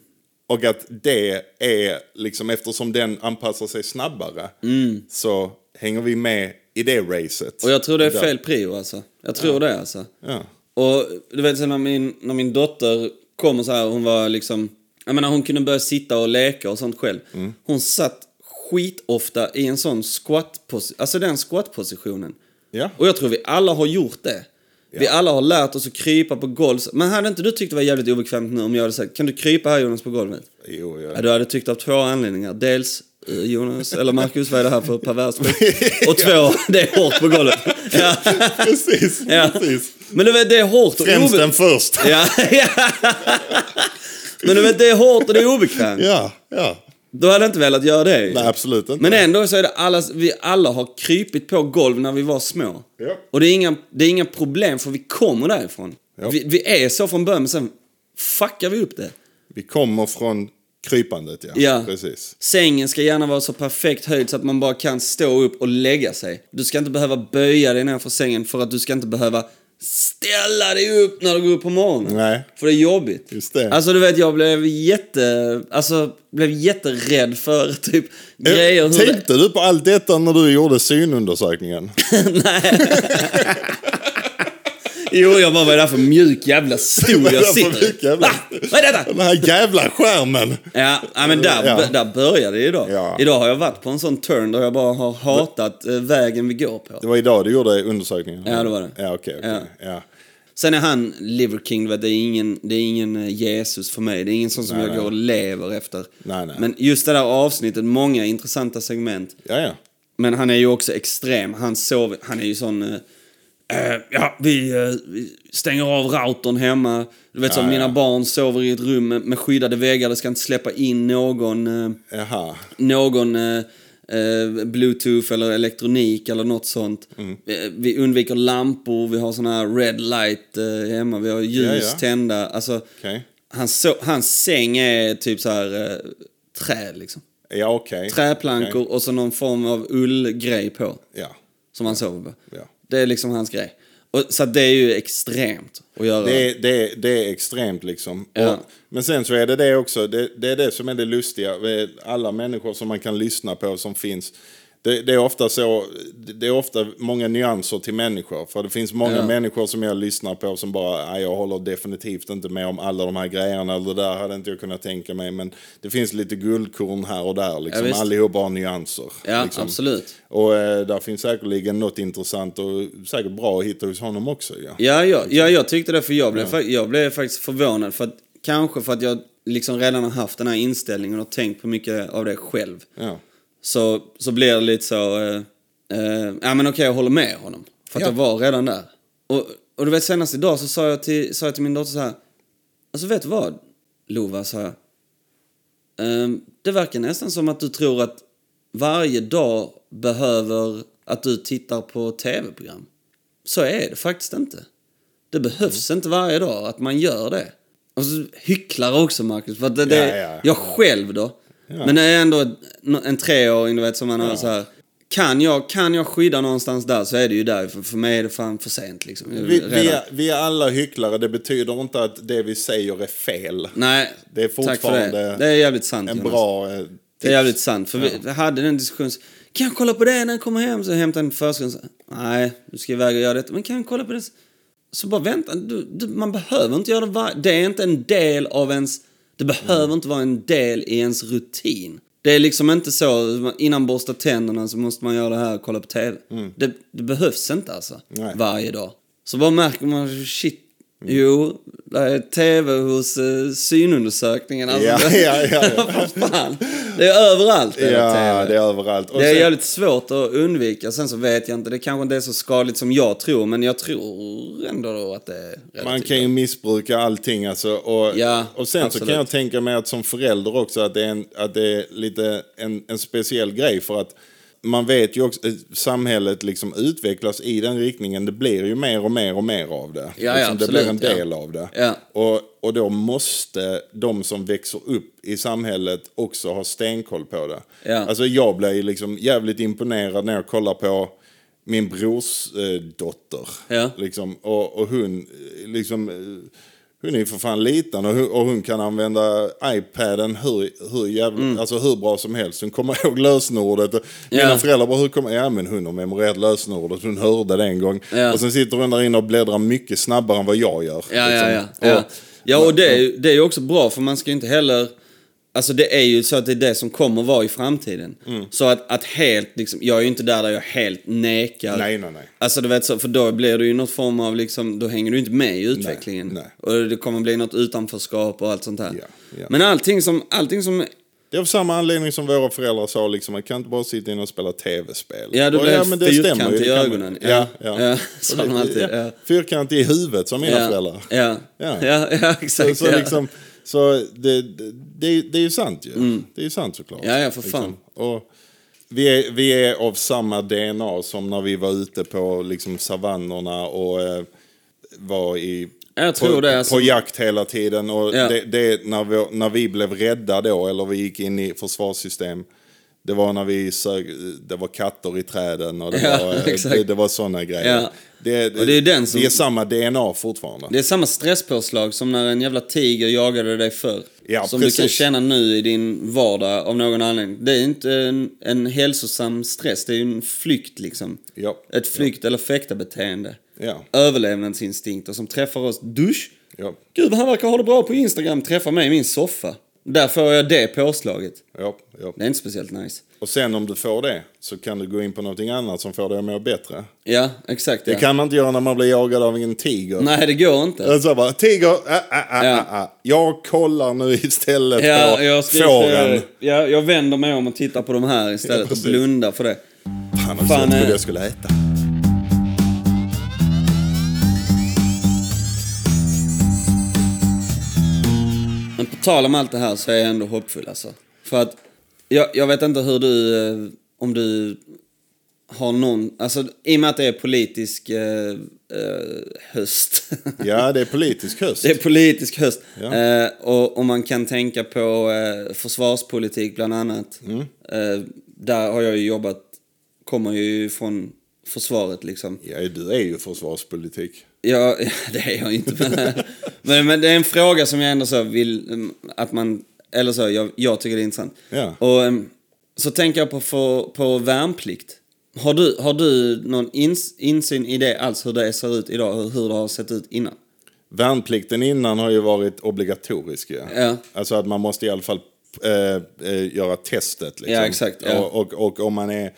Speaker 2: Och att det är, liksom eftersom den anpassar sig snabbare så hänger vi med i det racet.
Speaker 1: Mm. Och jag tror det är
Speaker 2: Där.
Speaker 1: fel prio alltså. Jag tror det alltså.
Speaker 2: Ja.
Speaker 1: Och du vet sen när min, när min dotter kom och så här, hon var liksom... Jag menar hon kunde börja sitta och leka och sånt själv. Hon satt skitofta i en sån squat Alltså den squat-positionen.
Speaker 2: Ja.
Speaker 1: Och jag tror vi alla har gjort det. Vi alla har lärt oss att krypa på golv. Men hade inte du tyckt det var jävligt obekvämt nu om jag hade sagt kan du krypa här Jonas på golvet?
Speaker 2: Jo,
Speaker 1: Ja,
Speaker 2: jag...
Speaker 1: du hade tyckt av två anledningar. Dels eh, Jonas, eller Marcus, vad är det här för perverst skit? Och två, det är hårt på golvet. Ja.
Speaker 2: precis,
Speaker 1: Ja.
Speaker 2: precis.
Speaker 1: Men du vet, det är hårt och
Speaker 2: Främst
Speaker 1: obe-
Speaker 2: den första.
Speaker 1: Ja, ja. Men du vet, det är hårt och det är obekvämt.
Speaker 2: Ja, ja.
Speaker 1: Då hade jag inte velat göra det. ju.
Speaker 2: Nej, absolut inte.
Speaker 1: Men ändå så är det alla, vi alla har krypit på golv när vi var små.
Speaker 2: Ja.
Speaker 1: Och det är, inga, det är inga problem för vi kommer därifrån.
Speaker 2: Ja.
Speaker 1: Vi, vi är så från början, men sen fuckar vi upp det.
Speaker 2: Vi kommer från krypandet, ja.
Speaker 1: Ja.
Speaker 2: Precis.
Speaker 1: Sängen ska gärna vara så perfekt höjd så att man bara kan stå upp och lägga sig. Du ska inte behöva böja dig ner för sängen för att du ska inte behöva ställa dig upp när du går upp på morgonen.
Speaker 2: Nej.
Speaker 1: För det är jobbigt.
Speaker 2: Just det.
Speaker 1: Alltså du vet, jag blev jätte... Alltså, blev jätterädd för typ grejer... hur det-
Speaker 2: Eh, Tänkte du på allt detta när du gjorde synundersökningen?
Speaker 1: Jo, jag bara, vad är det här för mjuk jävla stol
Speaker 2: Vad är
Speaker 1: jag
Speaker 2: det för
Speaker 1: sitter
Speaker 2: mjuk
Speaker 1: i?
Speaker 2: jävla-
Speaker 1: Va? Vad är detta?
Speaker 2: Den här jävla skärmen!
Speaker 1: Ja, ja men där,
Speaker 2: Ja.
Speaker 1: där började det idag.
Speaker 2: Ja.
Speaker 1: Idag har jag varit på en sån turn där jag bara har hatat eh, vägen vi går på.
Speaker 2: Det var idag du gjorde undersökningen?
Speaker 1: Ja, det var det.
Speaker 2: Ja, okej. okej. ja.
Speaker 1: Sen är han Liver King, du vet, det är ingen, det är ingen eh, Jesus för mig. Det är ingen sån som
Speaker 2: Nej,
Speaker 1: jag
Speaker 2: nej.
Speaker 1: går och lever efter.
Speaker 2: Nej, nej.
Speaker 1: Men just det där avsnittet, många intressanta segment.
Speaker 2: ja, ja.
Speaker 1: Men han är ju också extrem. Han sover, han är ju sån... eh, eh, ja, vi, eh, vi stänger av routern hemma. Du vet, som
Speaker 2: Ja,
Speaker 1: mina
Speaker 2: ja.
Speaker 1: barn sover i ett rum med, med skyddade väggar. Det ska inte släppa in någon... eh,
Speaker 2: Jaha.
Speaker 1: någon eh, eh, bluetooth eller elektronik eller något sånt.
Speaker 2: Mm.
Speaker 1: Eh, Vi undviker lampor, vi har såna här red light eh, hemma, vi har ljus
Speaker 2: Ja, ja.
Speaker 1: tända. Alltså,
Speaker 2: Okej.
Speaker 1: hans, so- hans säng är typ så här eh, trä liksom.
Speaker 2: Ja, okej.
Speaker 1: Träplankor
Speaker 2: Okej.
Speaker 1: och så någon form av ullgrej på.
Speaker 2: Ja.
Speaker 1: Som han sover på.
Speaker 2: Ja.
Speaker 1: Det är liksom hans grej. Och, så att det är ju extremt att göra.
Speaker 2: Det är, det, är, det är extremt liksom.
Speaker 1: Ja.
Speaker 2: Och, men sen så är det det också, det, det är det som är det lustiga. Alla människor som man kan lyssna på som finns. Det, det är ofta så, det är ofta många nyanser till människor. För det finns många
Speaker 1: Ja.
Speaker 2: människor som jag lyssnar på som bara, "Nej, jag håller definitivt inte med om alla de här grejerna. Eller det där hade inte jag kunnat tänka mig. Men det finns lite guldkorn här och där. Liksom.
Speaker 1: visst.
Speaker 2: Allihopa har nyanser.
Speaker 1: ja,
Speaker 2: liksom.
Speaker 1: absolut.
Speaker 2: Och eh, där finns säkerligen något intressant och säkert bra att hitta hos honom också. Ja.
Speaker 1: Ja, ja, ja, jag tyckte det för jag blev, fa- jag blev faktiskt förvånad. För att, kanske för att jag liksom redan har haft den här inställningen och tänkt på mycket av det själv.
Speaker 2: Ja.
Speaker 1: Så, så blir det lite så... Eh, eh, ja, men okej, jag håller med honom. För att
Speaker 2: Ja.
Speaker 1: jag var redan där. Och, och du vet, senast idag så sa jag till, sa jag till min dotter så här... Alltså, vet du vad, Lova, sa jag. Ehm, det verkar nästan som att du tror att varje dag behöver att du tittar på tv-program. Så är det faktiskt inte. Det behövs
Speaker 2: Mm.
Speaker 1: inte varje dag att man gör det. Och så hycklar också, Marcus. För att det, det,
Speaker 2: Ja, ja, ja.
Speaker 1: Jag själv då. Men det är ändå en, en treåring, du vet, som man har så här. Kan jag, kan jag skydda någonstans där så är det ju där. För, för mig är det fan för sent liksom.
Speaker 2: Vi, vi,
Speaker 1: Redan.
Speaker 2: är, vi är alla hycklare, det betyder inte att det vi säger är fel.
Speaker 1: Nej,
Speaker 2: Det är
Speaker 1: tack för det.
Speaker 2: fortfarande
Speaker 1: Det är jävligt sant
Speaker 2: En
Speaker 1: Jonas.
Speaker 2: bra... eh, tips.
Speaker 1: Det är jävligt sant. För vi hade den diskussionen. så, Kan jag kolla på det när jag kommer hem? Så hämtade en förskolan. så, Nej, du ska iväg och göra detta. Men kan jag kolla på det? Så bara vänta. Du, du, man behöver inte göra det var- Det är inte en del av ens... Det behöver
Speaker 2: Mm.
Speaker 1: inte vara en del i ens rutin. Det är liksom inte så, innan borsta tänderna så måste man göra det här och kolla på TV. Det, det behövs inte alltså,
Speaker 2: Mm. Nej. Mm.
Speaker 1: varje dag. Så bara märker man, shit, jo, det är TV hos eh, synundersökningen. Alltså,
Speaker 2: Ja,
Speaker 1: det-
Speaker 2: ja, ja, ja.
Speaker 1: Vad fan? Det är överallt. Är det,
Speaker 2: Ja,
Speaker 1: TV.
Speaker 2: det är överallt. Och
Speaker 1: det är
Speaker 2: sen-
Speaker 1: jävligt svårt att undvika. Sen så vet jag inte, det kanske inte är så skadligt som jag tror, men jag tror ändå att det är relativt.
Speaker 2: Man kan ju missbruka allting alltså. Och,
Speaker 1: Ja,
Speaker 2: och sen så
Speaker 1: absolut.
Speaker 2: kan jag tänka mig att som förälder också att det är, en, att det är lite en, en speciell grej för att man vet ju också eh, samhället liksom utvecklas i den riktningen. Det blir ju mer och mer och mer av det.
Speaker 1: ja,
Speaker 2: liksom, det blir en
Speaker 1: absolut, ja.
Speaker 2: del av det.
Speaker 1: Ja.
Speaker 2: Och, och då måste de som växer upp i samhället också ha stenkoll på det.
Speaker 1: Ja.
Speaker 2: Alltså jag blir ju liksom jävligt imponerad när jag kollar på min brors eh, dotter.
Speaker 1: Ja.
Speaker 2: Liksom, och, och hon, eh, liksom, eh, hon är ju för fan liten och hon, och hon kan använda iPaden hur, hur, jävla, alltså hur bra som helst. Hon kommer ihåg lösenordet. Och Mina
Speaker 1: Mm. Ja.
Speaker 2: föräldrar bara, hur kommer... Ja, men hon har memorerat lösenordet. Hon hörde det en gång.
Speaker 1: Ja.
Speaker 2: Och sen sitter hon där inne och bläddrar mycket snabbare än vad jag gör.
Speaker 1: Ja, ja, ja.
Speaker 2: liksom.
Speaker 1: Ja,
Speaker 2: Och,
Speaker 1: ja och det är, ju- det är ju också bra för man ska ju inte heller... Alltså det är ju så att det är det som kommer vara i framtiden.
Speaker 2: Mm.
Speaker 1: Så att, att helt liksom, jag är ju inte där där jag helt nekar.
Speaker 2: Nej, nej, nej.
Speaker 1: Alltså du vet så, för då blir det ju något form av liksom, då hänger du inte med i utvecklingen.
Speaker 2: nej.
Speaker 1: Och det kommer bli något utanförskap och allt sånt här.
Speaker 2: Ja, ja.
Speaker 1: Men allting som, allting som
Speaker 2: Det är av samma anledning som våra föräldrar sa, liksom, man kan inte bara sitta inne och spela tv-spel.
Speaker 1: Ja, du
Speaker 2: Och
Speaker 1: blev fyrkant
Speaker 2: stämmer ju, det
Speaker 1: i
Speaker 2: kan man-
Speaker 1: ögonen.
Speaker 2: Ja,
Speaker 1: Ja,
Speaker 2: ja.
Speaker 1: ja, sa
Speaker 2: Och det-
Speaker 1: de alltid,
Speaker 2: ja.
Speaker 1: ja.
Speaker 2: Fyrkant i huvudet, som mina
Speaker 1: Ja,
Speaker 2: föräldrar.
Speaker 1: ja,
Speaker 2: Ja.
Speaker 1: ja, ja,
Speaker 2: Så,
Speaker 1: exakt.
Speaker 2: så,
Speaker 1: ja.
Speaker 2: liksom, så det, det, det, är- det är ju sant ju. Det är ju sant såklart.
Speaker 1: Mm.
Speaker 2: Liksom.
Speaker 1: Ja, ja, för fan.
Speaker 2: Och vi, är, vi är av samma DNA som när vi var ute på liksom, savannerna och eh, var i...
Speaker 1: Jag tror
Speaker 2: på,
Speaker 1: det, alltså.
Speaker 2: på jakt hela tiden. Och
Speaker 1: Ja.
Speaker 2: det, det är när, vi, när vi blev rädda då, eller vi gick in i försvarssystem. Det var när vi sög, det var katter i träden och det
Speaker 1: Ja,
Speaker 2: var, eh,
Speaker 1: exakt.
Speaker 2: det, det var sådana grejer.
Speaker 1: Ja.
Speaker 2: Det,
Speaker 1: Och det är den som-
Speaker 2: vi är samma DNA fortfarande.
Speaker 1: Det är samma stresspåslag som när en jävla tiger jagade dig förr.
Speaker 2: Ja,
Speaker 1: som
Speaker 2: precis.
Speaker 1: du kan känna nu i din vardag av någon anledning. Det är inte en, en hälsosam stress, det är ju en flykt liksom.
Speaker 2: Ja.
Speaker 1: Ett flykt eller fäktarbeteende.
Speaker 2: Ja.
Speaker 1: Överlevnadsinstinkter som träffar oss. Dusch!
Speaker 2: Ja.
Speaker 1: Gud vad han verkar ha det bra på Instagram, träffar mig i min soffa. Där får jag det påslaget.
Speaker 2: Ja, ja.
Speaker 1: Det är inte speciellt nice.
Speaker 2: Och sen om du får det så kan du gå in på någonting annat som får dig att må bättre.
Speaker 1: Ja, exakt.
Speaker 2: Det
Speaker 1: Ja.
Speaker 2: kan man inte göra när man blir jagad av en tiger.
Speaker 1: Nej, det går inte.
Speaker 2: Alltså bara, tiger, ah, ah, ah,
Speaker 1: Ja.
Speaker 2: ah, ah. jag kollar nu istället
Speaker 1: Ja,
Speaker 2: på
Speaker 1: jag, ska,
Speaker 2: fåren.
Speaker 1: jag, jag vänder mig om och tittar på de här
Speaker 2: Ja,
Speaker 1: istället och
Speaker 2: precis.
Speaker 1: blundar för det.
Speaker 2: Fan, alltså, jag
Speaker 1: Fan,
Speaker 2: visste inte
Speaker 1: eh.
Speaker 2: vad jag skulle äta.
Speaker 1: Men på tal om allt det här så är jag ändå hoppfull alltså. För att jag, jag vet inte hur du, eh, om du har någon, alltså i och med att det är politisk eh, eh, höst.
Speaker 2: Ja, det är politisk höst.
Speaker 1: det är politisk höst.
Speaker 2: Ja.
Speaker 1: Eh, och, och man kan tänka på eh, försvarspolitik bland annat.
Speaker 2: Mm.
Speaker 1: Eh, där har jag ju jobbat, kommer ju från försvaret liksom.
Speaker 2: Ja, du är ju försvarspolitik.
Speaker 1: Ja, det är jag inte. Men, men, men det är en fråga som jag ändå så vill mm, att man... Eller så, jag, jag tycker det är intressant.
Speaker 2: Ja.
Speaker 1: Och em, så tänker jag på, på, på värnplikt. Har du, har du någon ins, insyn i det alls, hur det ser ut idag, hur, hur det har sett ut innan?
Speaker 2: Värnplikten innan har ju varit obligatorisk. Ja.
Speaker 1: Ja.
Speaker 2: Alltså att man måste i alla fall eh, eh, göra testet. Liksom.
Speaker 1: Ja, exakt, ja.
Speaker 2: Och, och, och om man är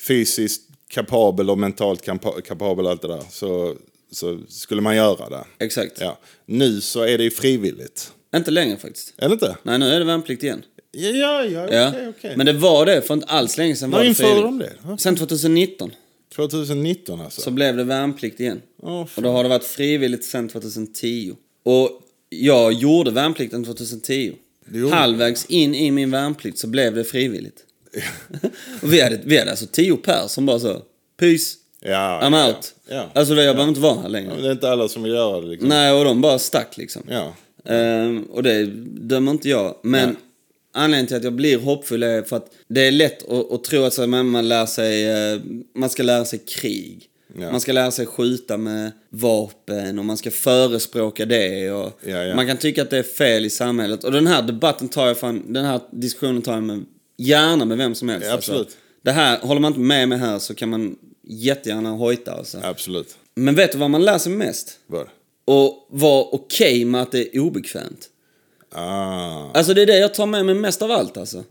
Speaker 2: fysiskt kapabel och mentalt kampa- kapabel och allt det där så, så skulle man göra det.
Speaker 1: Exakt.
Speaker 2: Ja. Nu så är det ju frivilligt.
Speaker 1: Inte längre faktiskt.
Speaker 2: Eller inte?
Speaker 1: Nej, nu är det värnplikt igen.
Speaker 2: Ja, ja, ja okej,
Speaker 1: Ja.
Speaker 2: okej.
Speaker 1: Men det var det för inte alls länge sedan.
Speaker 2: När
Speaker 1: var det
Speaker 2: införde de
Speaker 1: frivilligt.
Speaker 2: det? Ja,
Speaker 1: Sen 2019
Speaker 2: 2019 alltså?
Speaker 1: så blev det värnplikt igen.
Speaker 2: Åh,
Speaker 1: Och
Speaker 2: fan.
Speaker 1: då har det varit frivilligt sedan 2010. Och jag gjorde värnplikten 2010.
Speaker 2: Det gjorde
Speaker 1: Halvvägs in i min värnplikt så blev det frivilligt. och vi, hade, vi hade alltså tio pers som bara så, peace,
Speaker 2: ja,
Speaker 1: I'm
Speaker 2: ja,
Speaker 1: out.
Speaker 2: Ja.
Speaker 1: Alltså jag behöver inte vara här längre.
Speaker 2: Men det är inte alla som vill göra det. Liksom.
Speaker 1: Nej, och de bara stack liksom.
Speaker 2: Ja.
Speaker 1: Ehm, och det dömer inte jag. Men anledningen till att jag blir hoppfull är för att det är lätt att, att tro att så här, men man, lär sig, eh, man ska lära sig krig.
Speaker 2: Ja.
Speaker 1: Man ska lära sig skjuta med vapen och man ska förespråka det. Och
Speaker 2: Ja, ja.
Speaker 1: Man kan tycka att det är fel i samhället. Och den här debatten tar jag fan, den här diskussionen tar jag med, gärna med vem som helst.
Speaker 2: Ja, absolut.
Speaker 1: Alltså. Det här, håller man inte med mig här så kan man jättegärna hojta. Alltså.
Speaker 2: Absolut.
Speaker 1: Men vet du vad man lär sig mest?
Speaker 2: Vad?
Speaker 1: Och vara okej med att det är obekvämt.
Speaker 2: Ah.
Speaker 1: Alltså det är det jag tar med mig mest av allt alltså.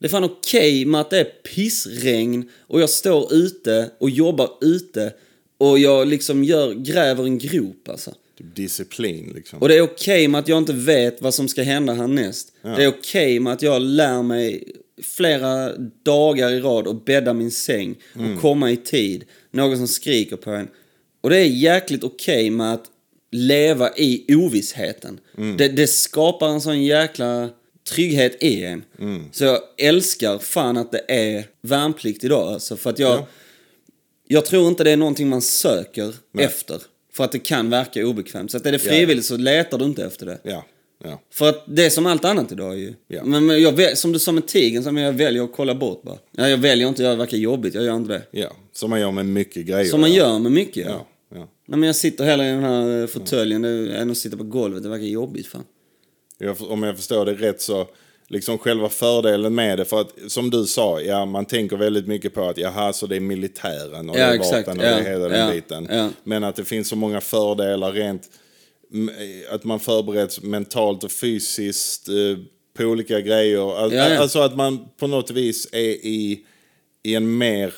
Speaker 1: Det är fan okej med att det är pissregn och jag står ute och jobbar ute och jag liksom gör, gräver en grop alltså.
Speaker 2: Typ disciplin liksom.
Speaker 1: Och det är okej med att jag inte vet vad som ska hända härnäst. Det är okej med att jag lär mig flera dagar i rad och bädda min säng och komma i tid. Någon som skriker på en. Och det är jäkligt okej med att leva i ovissheten. Det, det skapar en sån jäkla trygghet i en. Så jag älskar fan att det är värnplikt idag alltså. För att jag... Jag tror inte det är någonting man söker efter. För att det kan verka obekvämt. Så att är det frivilligt så letar du inte efter det.
Speaker 2: Ja. ja.
Speaker 1: För att det är som allt annat idag ju.
Speaker 2: Ja.
Speaker 1: Men, men jag, vä- som du sa med tigern, så men jag väljer att kolla bort bara. Ja, jag väljer inte, jag verkar jobbigt, jag gör inte det.
Speaker 2: Ja. Som man gör med mycket grejer.
Speaker 1: Som man gör med mycket.
Speaker 2: Ja. ja.
Speaker 1: Nej, men jag sitter hellre i den här eh, fåtöljen det- än att sitta på golvet, det verkar jobbigt fan.
Speaker 2: Jag, om jag förstår det rätt så, liksom själva fördelen med det, för att som du sa, ja, man tänker väldigt mycket på att jaha, så det är militären och
Speaker 1: Ja,
Speaker 2: det är
Speaker 1: exakt.
Speaker 2: vapen och
Speaker 1: Ja,
Speaker 2: det är hela den
Speaker 1: ja,
Speaker 2: biten.
Speaker 1: ja.
Speaker 2: Men att det finns så många fördelar rent, m- att man förbereds mentalt och fysiskt eh, på olika grejer. Alltså,
Speaker 1: Ja, ja.
Speaker 2: alltså att man på något vis är i, i en mer,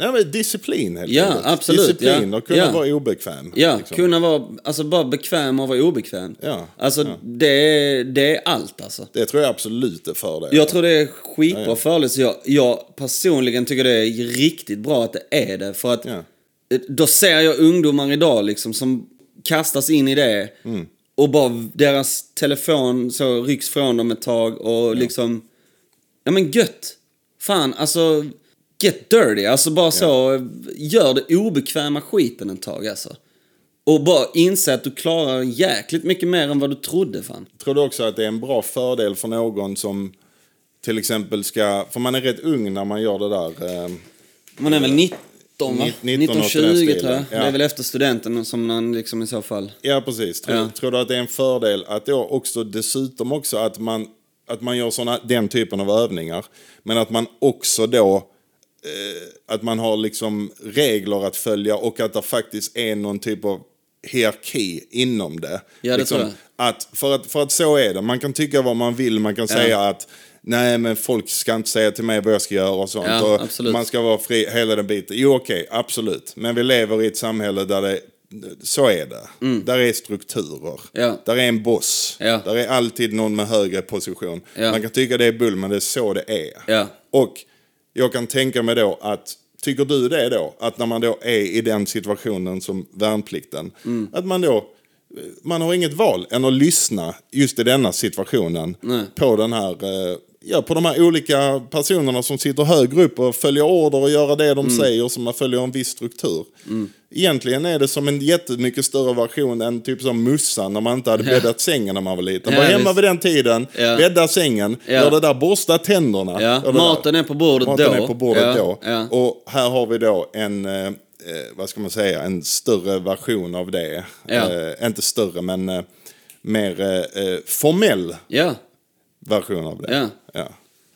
Speaker 2: nej men disciplin helt
Speaker 1: Ja,
Speaker 2: enkelt.
Speaker 1: absolut,
Speaker 2: Disciplin
Speaker 1: ja.
Speaker 2: och kunna
Speaker 1: Ja.
Speaker 2: vara obekväm.
Speaker 1: Ja,
Speaker 2: liksom.
Speaker 1: kunna vara, alltså bara bekväm och vara obekväm.
Speaker 2: Ja,
Speaker 1: Alltså Det, är, det är allt alltså.
Speaker 2: Det tror jag absolut är fördel.
Speaker 1: Jag tror det är skitbra ja, föreläsning. Jag, jag personligen tycker det är riktigt bra att det är det. För att
Speaker 2: Ja.
Speaker 1: eh, då ser jag ungdomar idag liksom som kastas in i det. Och bara deras telefon så rycks från dem ett tag och liksom... Ja men gött! Fan, alltså... Get dirty, alltså bara så. eh, Gör det obekväma skiten ett tag alltså. Och bara inse att du klarar jäkligt mycket mer än vad du trodde fan.
Speaker 2: tror du också att det är en bra fördel för någon som till exempel ska... För man är rätt ung när man gör det där. eh,
Speaker 1: Man är väl 19 va?
Speaker 2: 19, något i den
Speaker 1: 1920 tror jag.
Speaker 2: stilen.
Speaker 1: Det
Speaker 2: Ja.
Speaker 1: är väl efter studenten som man liksom i så fall...
Speaker 2: Ja, precis. Tror,
Speaker 1: Ja.
Speaker 2: tror du att det är en fördel att då också dessutom också att man, att man gör såna, den typen av övningar. Men att man också då... Eh, att man har liksom regler att följa och att det faktiskt är någon typ av hierarki inom det.
Speaker 1: Ja, det
Speaker 2: liksom,
Speaker 1: tror
Speaker 2: Att, för, att, för att så är det. Man kan tycka vad man vill. Man kan säga att nej, men folk ska inte säga till mig vad jag ska göra och sånt.
Speaker 1: Ja,
Speaker 2: och
Speaker 1: absolut.
Speaker 2: Man ska vara fri, hela den biten. Jo, okej, absolut. Men vi lever i ett samhälle där det, så är det. Där är strukturer.
Speaker 1: Mm. Ja.
Speaker 2: Där är en boss.
Speaker 1: Ja.
Speaker 2: Där är alltid någon med högre position.
Speaker 1: Ja.
Speaker 2: Man kan tycka det är bull, men det är så det är.
Speaker 1: Ja.
Speaker 2: Och jag kan tänka mig då att, tycker du det då? Att när man då är i den situationen som värnplikten,
Speaker 1: Mm.
Speaker 2: att man då, man har inget val än att lyssna just i denna situationen på den här, eh, ja på de här olika personerna som sitter högre upp och följer order och gör det de
Speaker 1: Mm.
Speaker 2: säger som man följer en viss struktur. Egentligen är det som en jättemycket större version än typ som mussan när man inte hade bäddat sängen när man var liten.
Speaker 1: Ja,
Speaker 2: var hemma
Speaker 1: visst.
Speaker 2: vid den tiden,
Speaker 1: Ja.
Speaker 2: bädda sängen,
Speaker 1: Ja.
Speaker 2: gör det där, borsta tänderna.
Speaker 1: Ja,
Speaker 2: Ja, det
Speaker 1: maten är på bordet
Speaker 2: maten
Speaker 1: då.
Speaker 2: är på bordet
Speaker 1: Ja,
Speaker 2: då.
Speaker 1: ja.
Speaker 2: Och här har vi då en, eh, eh, vad ska man säga, en större version av det.
Speaker 1: Ja.
Speaker 2: Eh, inte större, men eh, mer eh, eh, formell
Speaker 1: Ja,
Speaker 2: version av det.
Speaker 1: Ja.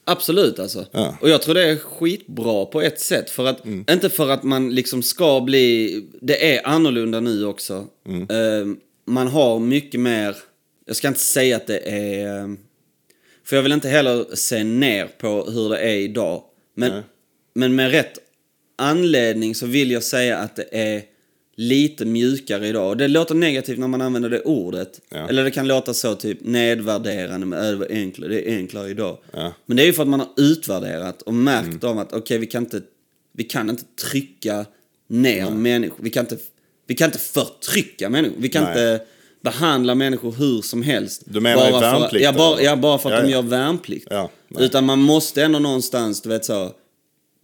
Speaker 1: absolut alltså.
Speaker 2: Ja. Mm.
Speaker 1: Och jag tror det är skitbra på ett sätt. För att, Inte för att man liksom ska bli... Det är annorlunda nu också.
Speaker 2: Mm.
Speaker 1: Eh, man har mycket mer... Jag ska inte säga att det är... eh, För jag vill inte heller se ner på hur det är idag. Men, men med rätt anledning så vill jag säga att det är lite mjukare idag. Och det låter negativt när man använder det ordet.
Speaker 2: Ja.
Speaker 1: Eller det kan låta så typ nedvärderande med över enklare. Det är enklare idag.
Speaker 2: Ja. Mm.
Speaker 1: Men det är ju för att man har utvärderat och märkt om att okej, vi, kan inte, vi kan inte trycka ner människor. Vi kan inte, vi kan inte förtrycka människor. Vi kan
Speaker 2: Nej.
Speaker 1: inte behandla människor hur som helst.
Speaker 2: Du menar
Speaker 1: för,
Speaker 2: i
Speaker 1: ja,
Speaker 2: värnplikten,
Speaker 1: bara,
Speaker 2: eller?
Speaker 1: ja, bara för att
Speaker 2: Ja,
Speaker 1: de
Speaker 2: ja.
Speaker 1: gör värnplikt.
Speaker 2: Ja, nej.
Speaker 1: Utan man måste ändå någonstans, du vet så.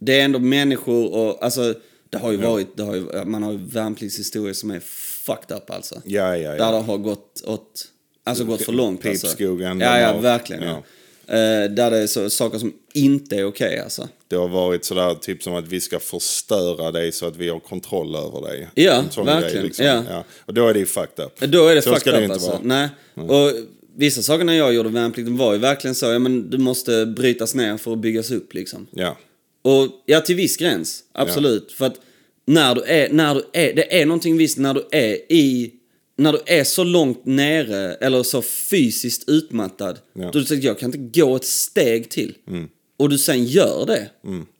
Speaker 1: Det är ändå människor och alltså. Det har ju varit, det har ju, man har ju värnpliktshistorier som är fucked up alltså.
Speaker 2: Ja, ja, ja.
Speaker 1: Där det har gått åt, alltså gått för långt alltså.
Speaker 2: Pipskogen,
Speaker 1: Ja,
Speaker 2: de
Speaker 1: ja,
Speaker 2: har-
Speaker 1: verkligen. Ja. Eh, där det är så, saker som inte är okej alltså.
Speaker 2: Det har varit sådär typ som att vi ska förstöra dig så att vi har kontroll över dig.
Speaker 1: Ja,
Speaker 2: En sån liksom.
Speaker 1: verkligen, ja.
Speaker 2: Och då är det ju fucked up.
Speaker 1: Eh, Då är det
Speaker 2: så ska
Speaker 1: fucked
Speaker 2: det
Speaker 1: up
Speaker 2: inte
Speaker 1: alltså.
Speaker 2: vara.
Speaker 1: Nej. Och vissa saker när jag gjorde värnplikten var ju verkligen så, ja men du måste brytas ner för att byggas upp liksom.
Speaker 2: Ja.
Speaker 1: Och ja, till viss gräns. Absolut. För att när du är, när du är, det är någonting visst när du är i, när du är så långt nere eller så fysiskt utmattad.
Speaker 2: Ja. Mm.
Speaker 1: Då du säger jag kan inte gå ett steg till. Och du sen gör det.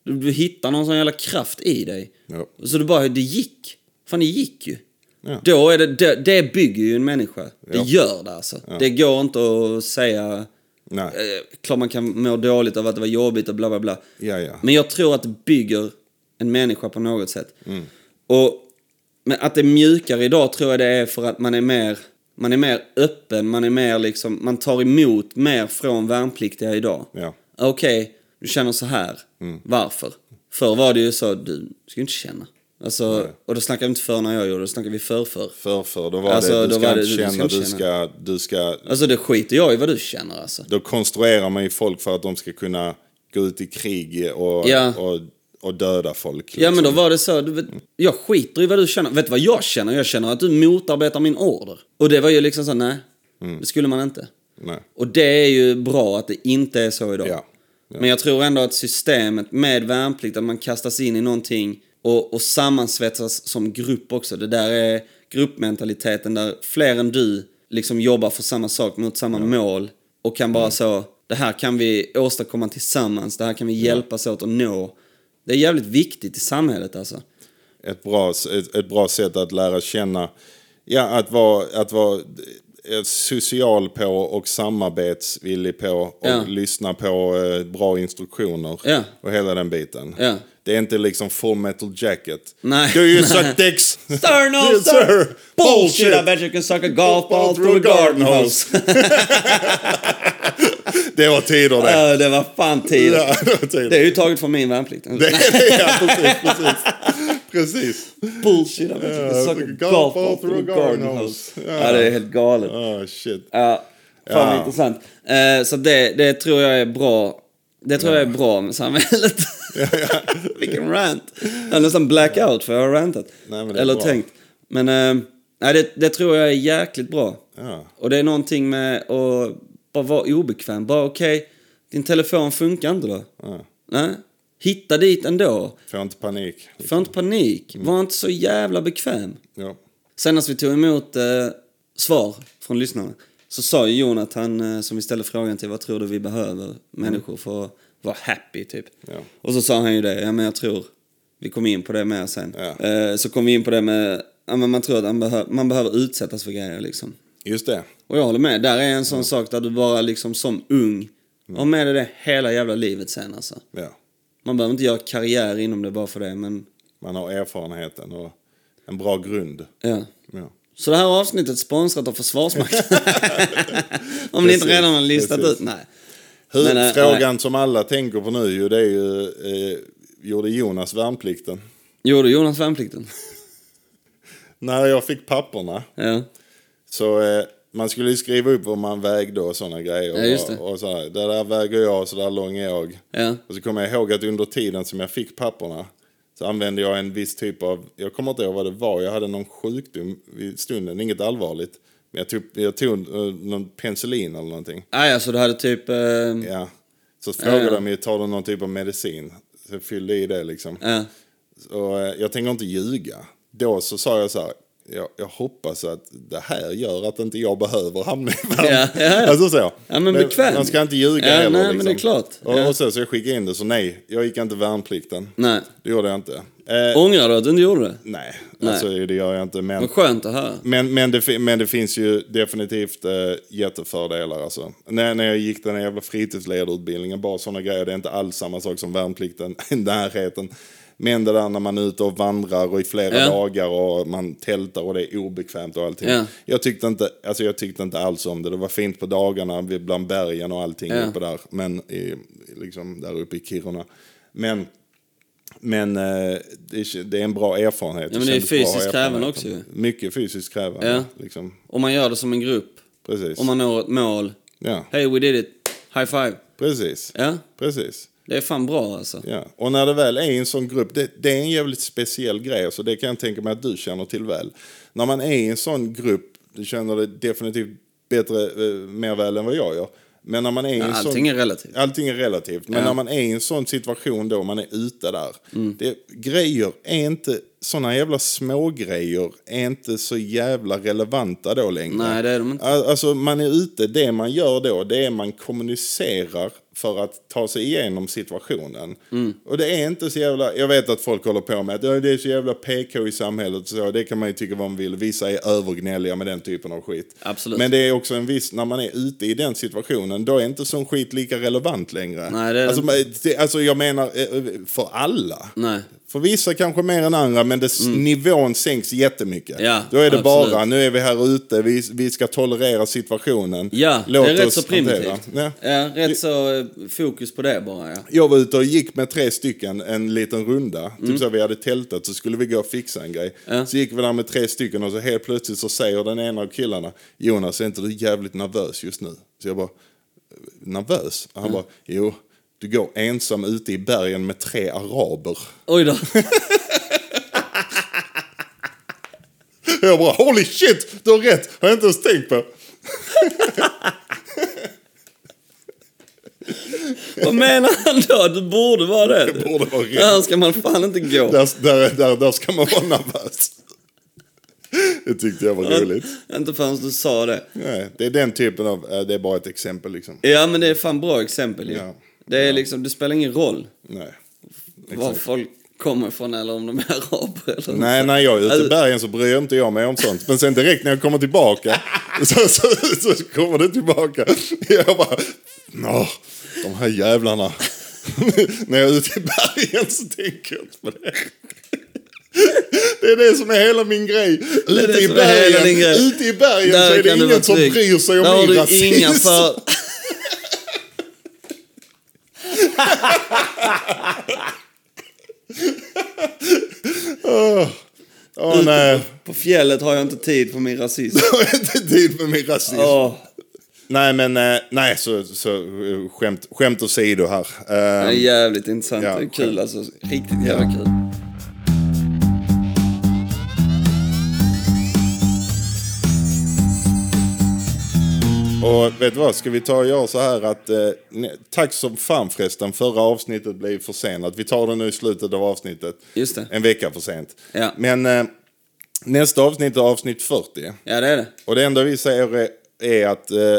Speaker 1: Du, du hittar någon sån jävla kraft i dig.
Speaker 2: Ja.
Speaker 1: Så du bara, det gick. Fan, det gick ju.
Speaker 2: Ja.
Speaker 1: Då är det, det, det bygger ju en människa. Det gör det alltså. Det går inte att säga...
Speaker 2: Nej.
Speaker 1: Eh, klart man kan må dåligt av att det var jobbigt och bla bla bla.
Speaker 2: Ja, ja.
Speaker 1: Men jag tror att det bygger en människa på något sätt. Och, men att det är mjukare idag tror jag det är för att man är mer, man är mer öppen, man är mer liksom, man tar emot mer från värnpliktiga idag.
Speaker 2: Ja.
Speaker 1: Okej, du känner så här. Varför? Förr var det ju så, du ska ju inte känna. Alltså, och då snackar vi inte för när jag gjorde, då snackar vi för för.
Speaker 2: För, för, då var
Speaker 1: Alltså,
Speaker 2: det, du
Speaker 1: då
Speaker 2: ska
Speaker 1: var det-
Speaker 2: inte
Speaker 1: du ska
Speaker 2: känna,
Speaker 1: inte
Speaker 2: du
Speaker 1: känna.
Speaker 2: ska, du ska,
Speaker 1: Alltså det skiter jag i vad du känner alltså.
Speaker 2: då konstruerar man ju folk för att de ska kunna gå ut i krig och,
Speaker 1: Ja.
Speaker 2: och, och döda folk.
Speaker 1: Ja
Speaker 2: liksom.
Speaker 1: men då var det så, du vet, jag skiter i vad du känner. Vet du vad jag känner? Jag känner att du motarbetar min order. Och det var ju liksom så, nej, det skulle man inte.
Speaker 2: Mm. Nej.
Speaker 1: Och det är ju bra att det inte är så idag.
Speaker 2: Ja. Ja.
Speaker 1: Men jag tror ändå att systemet med värnplikt, att man kastas in i någonting och, och sammansvetsas som grupp också. Det där är gruppmentaliteten där fler än du liksom jobbar för samma sak mot samma mål och kan bara så, det här kan vi åstadkomma tillsammans, det här kan vi hjälpas åt att nå. Det är jävligt viktigt i samhället alltså.
Speaker 2: ett bra, ett, ett bra sätt att lära känna, ja, att vara, att vara eh, social på och samarbetsvillig på och
Speaker 1: Ja.
Speaker 2: lyssna på eh, bra instruktioner
Speaker 1: Ja.
Speaker 2: och hela den biten.
Speaker 1: Ja.
Speaker 2: Det är inte liksom full metal jacket.
Speaker 1: Nej.
Speaker 2: Do you
Speaker 1: Nej.
Speaker 2: suck dicks?
Speaker 1: Sir, no
Speaker 2: Yes,
Speaker 1: sir!
Speaker 2: sir.
Speaker 1: Bullshit! I
Speaker 2: Bullshit.
Speaker 1: bet you can suck a golf ball through a garden hose.
Speaker 2: Det var tider det.
Speaker 1: Ja, det var fan tid.
Speaker 2: Ja, det var tider.
Speaker 1: Det är ju taget från min värnplikt.
Speaker 2: ja, precis, precis. precis.
Speaker 1: Bullshit, typ jag vet inte.
Speaker 2: Ja,
Speaker 1: Jag söker
Speaker 2: golf ball
Speaker 1: golf
Speaker 2: through
Speaker 1: through
Speaker 2: a
Speaker 1: garden
Speaker 2: garden
Speaker 1: hose.
Speaker 2: hose.
Speaker 1: Ja, det är helt galet.
Speaker 2: Ah, shit.
Speaker 1: Ja, fan vad
Speaker 2: Ja.
Speaker 1: intressant. Eh, så det, det tror jag är bra. Det tror jag är bra med samhället. Vilken rant. Jag har nästan blackout för jag har rantat.
Speaker 2: Nej, men det är
Speaker 1: Eller
Speaker 2: bra.
Speaker 1: tänkt. Men eh, nej, det, det tror jag är jäkligt bra.
Speaker 2: Ja.
Speaker 1: Och det är någonting med att bara vara obekväm. Bara okej, din telefon funkar inte då.
Speaker 2: Ja.
Speaker 1: Nej. Hitta dit ändå.
Speaker 2: Får inte panik.
Speaker 1: Få inte panik. Var inte så jävla bekväm.
Speaker 2: Ja.
Speaker 1: Senast vi tog emot eh, svar från lyssnarna så sa ju Jonathan, eh, som vi ställde frågan till, vad tror du vi behöver människor för att vara happy, typ?
Speaker 2: Ja.
Speaker 1: Och så sa han ju det, ja men jag tror, vi kom in på det mer sen.
Speaker 2: Ja.
Speaker 1: Eh, så kom vi in på det med, ja men man tror att man, behö- man behöver utsättas för grejer liksom.
Speaker 2: Just det.
Speaker 1: Och jag håller med, där är en sån sak där du bara liksom som ung, har med dig det hela jävla livet sen alltså.
Speaker 2: Ja.
Speaker 1: Man behöver inte göra karriär inom det bara för det, men
Speaker 2: Man har erfarenheten och en bra grund.
Speaker 1: ja.
Speaker 2: Ja.
Speaker 1: Så det här avsnittet är sponsrat av Försvarsmakten. Om ni inte
Speaker 2: Precis,
Speaker 1: redan har listat
Speaker 2: precis.
Speaker 1: ut. Nej. Men, eh,
Speaker 2: Huvudfrågan som alla tänker på nu ju, det är ju, eh, gjorde Jonas värnplikten?
Speaker 1: Gjorde Jonas värnplikten?
Speaker 2: När jag fick papperna
Speaker 1: Ja.
Speaker 2: så eh, man skulle ju skriva upp vad man vägde och sådana grejer.
Speaker 1: Ja, just det.
Speaker 2: Och, och så här, det där väger jag, så där lång är jag.
Speaker 1: Ja.
Speaker 2: Och så kommer jag ihåg att under tiden som jag fick papperna så använde jag en viss typ av, jag kommer inte ihåg vad det var, jag hade någon sjukdom i stunden, inget allvarligt. Men jag tog, jag tog eh, någon penicillin eller någonting.
Speaker 1: Ah, ja, så du hade typ... Eh, ja.
Speaker 2: Ja. Så frågade
Speaker 1: Ja, ja.
Speaker 2: de ju, tar du någon typ av medicin? Så jag fyllde i det liksom.
Speaker 1: Ja.
Speaker 2: Och eh, jag tänker inte ljuga. Då så sa jag så här, jag, jag hoppas att det här gör att inte jag behöver hamna i världen.
Speaker 1: Ja, ja, ja.
Speaker 2: Alltså så.
Speaker 1: Ja, men bekväm.
Speaker 2: Man ska inte ljuga
Speaker 1: Ja,
Speaker 2: heller.
Speaker 1: nej, men
Speaker 2: liksom.
Speaker 1: det är klart.
Speaker 2: Och,
Speaker 1: Ja.
Speaker 2: och sen så jag skickade in det, så nej, jag gick inte värnplikten.
Speaker 1: Nej.
Speaker 2: Det gjorde jag inte. Eh,
Speaker 1: Ångrar du att du inte gjorde det?
Speaker 2: nej, alltså det gör jag inte. Men,
Speaker 1: Vad skönt att höra.
Speaker 2: men, men, det, fi- men det finns ju definitivt eh, jättefördelar alltså. När, när jag gick den här jävla fritidsledarutbildningen, bara sådana grejer, det är inte alls samma sak som värnplikten i närheten. Men det där när man är ute och vandrar och i flera
Speaker 1: Ja.
Speaker 2: dagar och man tältar och det är obekvämt och allting.
Speaker 1: Ja.
Speaker 2: Jag, tyckte inte, alltså jag tyckte inte alls om det. Det var fint på dagarna vid- bland bergen och allting
Speaker 1: Ja.
Speaker 2: uppe där. Men i, liksom där uppe i Kiruna. Men, men eh, det, det är en bra erfarenhet.
Speaker 1: Ja, men det är
Speaker 2: kändes bra att ha
Speaker 1: fysiskt krävande
Speaker 2: erfarenheten.
Speaker 1: också ju.
Speaker 2: Mycket fysiskt krävande.
Speaker 1: Ja.
Speaker 2: Liksom.
Speaker 1: Om man gör det som en grupp,
Speaker 2: Precis.
Speaker 1: om man når ett mål.
Speaker 2: Ja.
Speaker 1: Hey, we did it. High five.
Speaker 2: Precis.
Speaker 1: Ja,
Speaker 2: Precis.
Speaker 1: det är fan bra alltså.
Speaker 2: Ja. Och när det väl är en sån grupp, det, det är en jävligt speciell grej, så det kan jag tänka mig att du känner till väl. När man är i en sån grupp, du känner det definitivt bättre, eh, mer väl än vad jag gör. Men när man är i en
Speaker 1: Ja,
Speaker 2: sån...
Speaker 1: allting är relativt.
Speaker 2: Allting är relativt. Men när man är i en sån situation då, man är ute där.
Speaker 1: Mm.
Speaker 2: Det, grejer är inte, såna jävla smågrejer är inte så jävla relevanta då längre.
Speaker 1: Nej, det är de inte.
Speaker 2: Al- Alltså man är ute, det man gör då det är man kommunicerar för att ta sig igenom situationen. Och det är inte så jävla, jag vet att folk håller på med att "Ja, det är så jävla PK i samhället och så, det kan man ju tycka vad man vill. Vissa är övergnälliga med den typen av skit.
Speaker 1: Absolut.
Speaker 2: Men det är också en viss, när man är ute i den situationen, då är inte sån skit lika relevant längre.
Speaker 1: Nej, det är det
Speaker 2: alltså,
Speaker 1: inte.
Speaker 2: man- det, alltså jag menar eh, för alla.
Speaker 1: Nej.
Speaker 2: För vissa kanske mer än andra, men det, nivån sänks jättemycket.
Speaker 1: Mm. Ja,
Speaker 2: Då är det
Speaker 1: absolut.
Speaker 2: bara, nu är vi här ute, vi, vi ska tolerera situationen.
Speaker 1: Ja,
Speaker 2: Låt
Speaker 1: det är rätt
Speaker 2: oss
Speaker 1: så primitivt.
Speaker 2: hantera.
Speaker 1: Ja.
Speaker 2: Ja.
Speaker 1: rätt så eh, fokus på det bara, ja.
Speaker 2: Jag var ute och gick med tre stycken en liten runda. Typ så vi hade tältat så skulle vi gå och fixa en grej.
Speaker 1: Mm. Ja.
Speaker 2: Så gick vi där med tre stycken och så helt plötsligt så säger den ena av killarna Jonas är inte du jävligt nervös just nu? Så jag bara nervös? Och han bara jo, du går ensam ute i bergen med tre araber.
Speaker 1: Oj då.
Speaker 2: Jag bara holy shit, du har rätt, har jag inte ens tänkt på.
Speaker 1: Vad menar han då? Du borde vara det.
Speaker 2: Det borde vara rätt.
Speaker 1: Där ska man fan inte gå.
Speaker 2: Där, där, där, där ska man vara nervös. Det tyckte jag var roligt.
Speaker 1: Inte förrän du sa det.
Speaker 2: Nej, det är den typen av, eh, det är bara ett exempel liksom.
Speaker 1: Ja, men det är fan bra exempel ju.
Speaker 2: Ja.
Speaker 1: Det är liksom, det spelar ingen roll
Speaker 2: Nej.
Speaker 1: var folk kommer ifrån eller om de är araber eller
Speaker 2: Nej, när jag är ute
Speaker 1: Alltså-
Speaker 2: i bergen så bryr inte jag mig om sånt. Men sen direkt när jag kommer tillbaka så, så, så kommer det tillbaka. Jag bara, nå, de här jävlarna. när jag är ute i bergen så tänker jag inte på det. Det är det som är hela min grej.
Speaker 1: är
Speaker 2: Ute
Speaker 1: det
Speaker 2: i
Speaker 1: som är hela din
Speaker 2: bergen,
Speaker 1: grej.
Speaker 2: ute i bergen så är det
Speaker 1: kan du
Speaker 2: ingen
Speaker 1: vara
Speaker 2: som
Speaker 1: trygg.
Speaker 2: bryr sig
Speaker 1: Där
Speaker 2: om
Speaker 1: har
Speaker 2: min
Speaker 1: du
Speaker 2: rasism.
Speaker 1: Inga för...
Speaker 2: Åh nej,
Speaker 1: På fjället har jag inte tid för min rasism.
Speaker 2: jag har inte tid med min rasism.
Speaker 1: Åh,
Speaker 2: Nej men, eh, nej så, så eh, skämt, skämt åsido här. Eh,
Speaker 1: det är jävligt intressant.
Speaker 2: Ja,
Speaker 1: det är kul alltså. Riktigt jävla kul.
Speaker 2: Och vet du vad, ska vi ta och göra så här att, eh, ne- tack som fan förresten, förra avsnittet blev försenat. Vi tar det nu i slutet av avsnittet.
Speaker 1: Just det.
Speaker 2: En vecka för sent.
Speaker 1: Ja.
Speaker 2: Men eh, nästa avsnitt är avsnitt 40.
Speaker 1: Ja, det är det.
Speaker 2: Och det enda vi säger är, är att eh,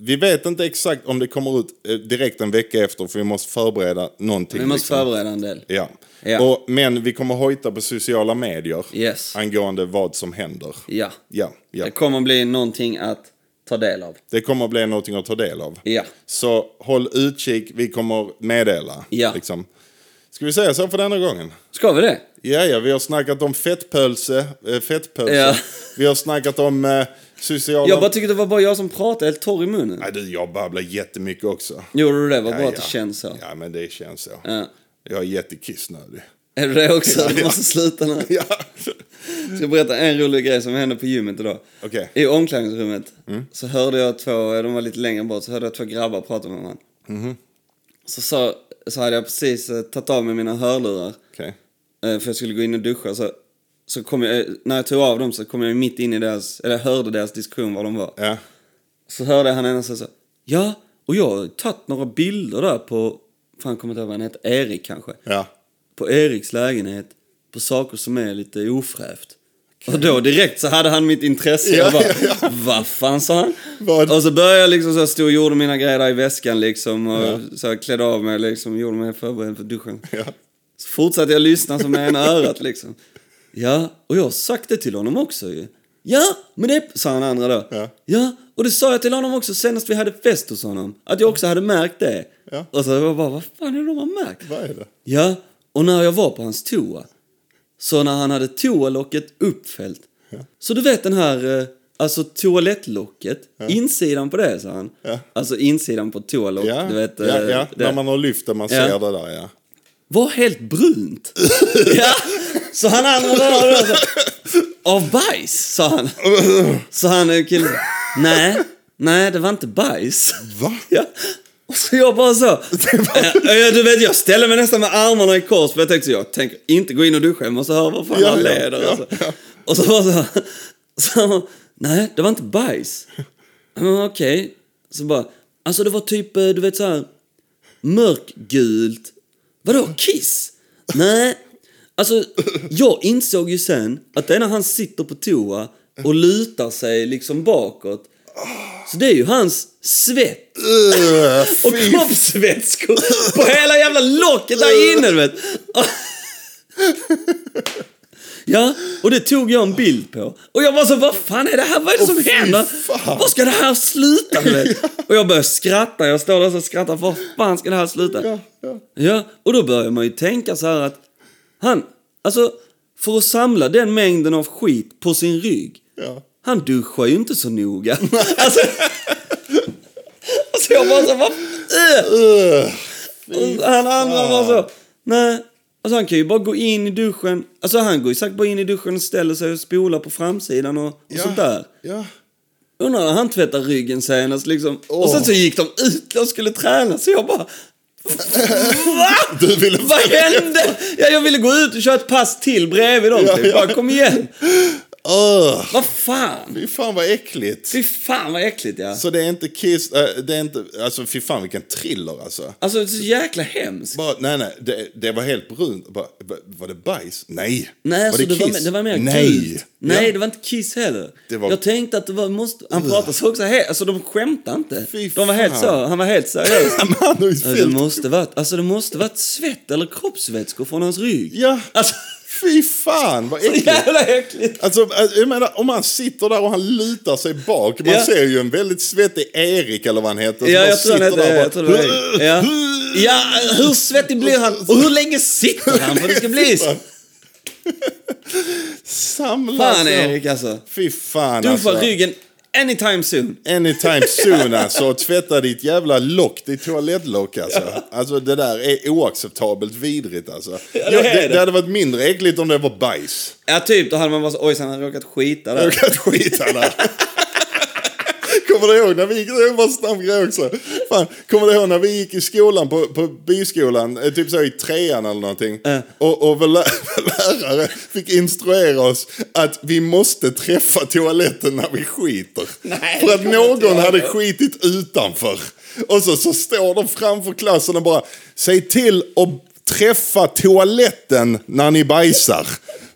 Speaker 2: vi vet inte exakt om det kommer ut eh, direkt en vecka efter för vi måste förbereda någonting.
Speaker 1: Vi måste
Speaker 2: liksom.
Speaker 1: förbereda en del.
Speaker 2: Ja.
Speaker 1: Ja.
Speaker 2: Och, men vi kommer hojta på sociala medier
Speaker 1: Yes.
Speaker 2: angående vad som händer.
Speaker 1: Ja.
Speaker 2: Ja, ja.
Speaker 1: Det kommer bli någonting att ta del av.
Speaker 2: Det kommer att bli någonting att ta del av.
Speaker 1: Ja.
Speaker 2: Så håll utkik, vi kommer meddela.
Speaker 1: Ja.
Speaker 2: Liksom. Ska vi säga så för denna gången?
Speaker 1: Ska vi det?
Speaker 2: Ja, ja, vi har snackat om fettpölse. Äh, fettpölse.
Speaker 1: Ja.
Speaker 2: Vi har snackat om eh, sociala...
Speaker 1: Jag bara tyckte det var bara jag som pratade, helt torr i munnen.
Speaker 2: Nej, du, jag babblar jättemycket också.
Speaker 1: Gjorde du det? Vad bra
Speaker 2: Ja,
Speaker 1: att det
Speaker 2: ja.
Speaker 1: känns så.
Speaker 2: Ja, men det känns så.
Speaker 1: Ja.
Speaker 2: Jag är jättekissnödig.
Speaker 1: Är du det också? Du
Speaker 2: ja.
Speaker 1: måste sluta nu.
Speaker 2: Ja.
Speaker 1: Jag ska berätta en rolig grej som hände på gymmet idag.
Speaker 2: Okej. Mm.
Speaker 1: I omklädningsrummet så hörde jag två, de var lite längre bort, så hörde jag två grabbar prata med varandra.
Speaker 2: Mhm.
Speaker 1: Så, sa, så hade jag precis eh, tagit av mig mina hörlurar.
Speaker 2: Okej.
Speaker 1: Eh, För jag skulle gå in och duscha. Så, så kom jag, när jag tog av dem så kom jag mitt in i deras, eller hörde deras diskussion var de var.
Speaker 2: Ja.
Speaker 1: Så hörde jag han ena säga så Ja, och jag har tagit några bilder där på, fan kommer inte ihåg vad han heter, Erik kanske.
Speaker 2: Ja.
Speaker 1: På Eriks lägenhet, på saker som är lite ofräft. Och då direkt så hade han mitt intresse.
Speaker 2: Ja,
Speaker 1: jag bara,
Speaker 2: ja,
Speaker 1: vad fan sa han?
Speaker 2: Vad?
Speaker 1: Och så började jag liksom så här, stod och gjorde mina grejer där i väskan liksom. Och så här, klädde av mig liksom, gjorde mig förberedd för duschen.
Speaker 2: Ja.
Speaker 1: Så fortsatte jag lyssna som med ena örat liksom. Ja, och jag har sagt det till honom också ju. Ja, men det sa han andra då.
Speaker 2: Ja.
Speaker 1: och det sa jag till honom också senast vi hade fest hos honom. Att jag också hade märkt det.
Speaker 2: Ja.
Speaker 1: Och så var jag bara, vad fan är det de har märkt?
Speaker 2: Vad är det?
Speaker 1: Ja, och när jag var på hans toa. Så när han hade toalocket uppfällt. Så du vet den här, eh, alltså toalettlocket. Insidan på det, sa han.
Speaker 2: Ja.
Speaker 1: Alltså insidan på toalock,
Speaker 2: Ja.
Speaker 1: du vet. eh,
Speaker 2: ja, ja.
Speaker 1: det
Speaker 2: När man har lyft det, man
Speaker 1: Ja.
Speaker 2: ser det där, ja.
Speaker 1: var helt brunt. ja. Så han andra där då, så- av bajs, sa han. Så han eh, killen, nej, nej det var inte bajs.
Speaker 2: Va?
Speaker 1: Ja. Och så jag bara så. Ja, ja, du vet, jag ställde mig nästan med armarna i kors för jag tänkte så, jag tänker inte gå in och duscha, jag måste höra vad fan
Speaker 2: Ja,
Speaker 1: han
Speaker 2: ja,
Speaker 1: leder.
Speaker 2: ja,
Speaker 1: alltså. Och så bara så, här, så han bara, nej, det var inte bajs. Ja, Okej, så bara, alltså det var typ, eh, du vet så här, mörkgult. Vadå, kiss? Nej. Alltså, jag insåg ju sen att det är när han sitter på toa och lutar sig liksom bakåt. Så det är ju hans svett
Speaker 2: Öh,
Speaker 1: och
Speaker 2: fy
Speaker 1: kroppsvätskor på hela jävla locket
Speaker 2: Äh.
Speaker 1: där inne, du vet. Ja, och det tog jag en bild på. Och jag var så, vad fan är det här? Vad är det som
Speaker 2: fy
Speaker 1: händer?
Speaker 2: fan.
Speaker 1: Var ska det här sluta? du vet? Och jag började skratta, jag står där och skrattar, var fan ska det här sluta?
Speaker 2: Ja, ja.
Speaker 1: Ja, och då börjar man ju tänka så här att han, alltså, för att samla den mängden av skit på sin rygg,
Speaker 2: Ja.
Speaker 1: han duschar ju inte så noga. alltså, alltså jag bara så, vad, äh.
Speaker 2: Öh.
Speaker 1: Och han andra var så, nej. Alltså han kan ju bara gå in i duschen. Alltså han går ju säkert bara in i duschen och ställer sig och spolar på framsidan och, och
Speaker 2: Ja,
Speaker 1: sånt där.
Speaker 2: Ja.
Speaker 1: Undrar när han tvättade ryggen senast liksom. Och
Speaker 2: Åh.
Speaker 1: sen så gick de ut och skulle träna så jag bara... Va?
Speaker 2: Du ville
Speaker 1: Vad hände? Ja, jag ville gå ut och köra ett pass till bredvid dem.
Speaker 2: Ja,
Speaker 1: typ.
Speaker 2: ja.
Speaker 1: Bara, kom igen.
Speaker 2: Öh.
Speaker 1: Vad fan?
Speaker 2: Fy fan vad äckligt.
Speaker 1: Fy fan vad äckligt ja.
Speaker 2: Så det är inte Kiss, eh, det är inte, alltså fy fan vilken thriller alltså.
Speaker 1: Alltså det är så jäkla hemskt.
Speaker 2: Bara, nej, nej, det, det var helt brunt. Bara, va- var det bajs? Nej.
Speaker 1: Nej, alltså, det, var, me- det var mer gult.
Speaker 2: Nej.
Speaker 1: Nej,
Speaker 2: Ja.
Speaker 1: det var inte Kiss heller.
Speaker 2: Det var-
Speaker 1: Jag tänkte att det var... Måste... Han pratade så också helt... Alltså, de skämtade inte.
Speaker 2: Fy
Speaker 1: de var helt
Speaker 2: fan.
Speaker 1: så. Han var helt seriös.
Speaker 2: Men han har ju
Speaker 1: Ja, det
Speaker 2: fyllt.
Speaker 1: måste varit... Alltså, det måste varit svett eller kroppsvätskor från hans rygg.
Speaker 2: Ja.
Speaker 1: Alltså,
Speaker 2: Fy fan vad äckligt.
Speaker 1: jävla äckligt.
Speaker 2: Alltså, jag menar, om han sitter där och han lutar sig bak. Man
Speaker 1: Ja.
Speaker 2: ser ju en väldigt svettig Erik eller vad han heter. som
Speaker 1: Ja,
Speaker 2: bara
Speaker 1: jag tror han
Speaker 2: sitter
Speaker 1: hette
Speaker 2: där och
Speaker 1: det. Jag tror det var det. ja. ja, hur svettig blir han? Och hur länge sitter han för det ska bli så?
Speaker 2: Samlas
Speaker 1: Fan,
Speaker 2: då.
Speaker 1: Erik, alltså.
Speaker 2: Fy fan
Speaker 1: Du får
Speaker 2: alltså.
Speaker 1: ryggen anytime soon.
Speaker 2: Anytime soon alltså. Och Tvätta ditt jävla lock, ditt toalettlock alltså. Alltså det där är oacceptabelt vidrigt alltså.
Speaker 1: det
Speaker 2: Ja,
Speaker 1: är det.
Speaker 2: det hade varit mindre äckligt om det var bajs.
Speaker 1: Ja, typ. Då hade man bara så... Ojsan, han har råkat skita där.
Speaker 2: Jag kan skita där. Kommer du ihåg när vi gick, det var en snabb grej också. Fan, kommer du ihåg när vi gick i skolan på, på byskolan, eh, typ så i trean eller någonting. Och, och vår, lä- vår lärare fick instruera oss att vi måste träffa toaletten när vi skiter.
Speaker 1: Nej,
Speaker 2: För
Speaker 1: det
Speaker 2: att
Speaker 1: kommer inte
Speaker 2: någon
Speaker 1: jag
Speaker 2: hade
Speaker 1: ihåg.
Speaker 2: skitit utanför. Och så, så står de framför klassen och bara, säg till och träffa toaletten när ni bajsar.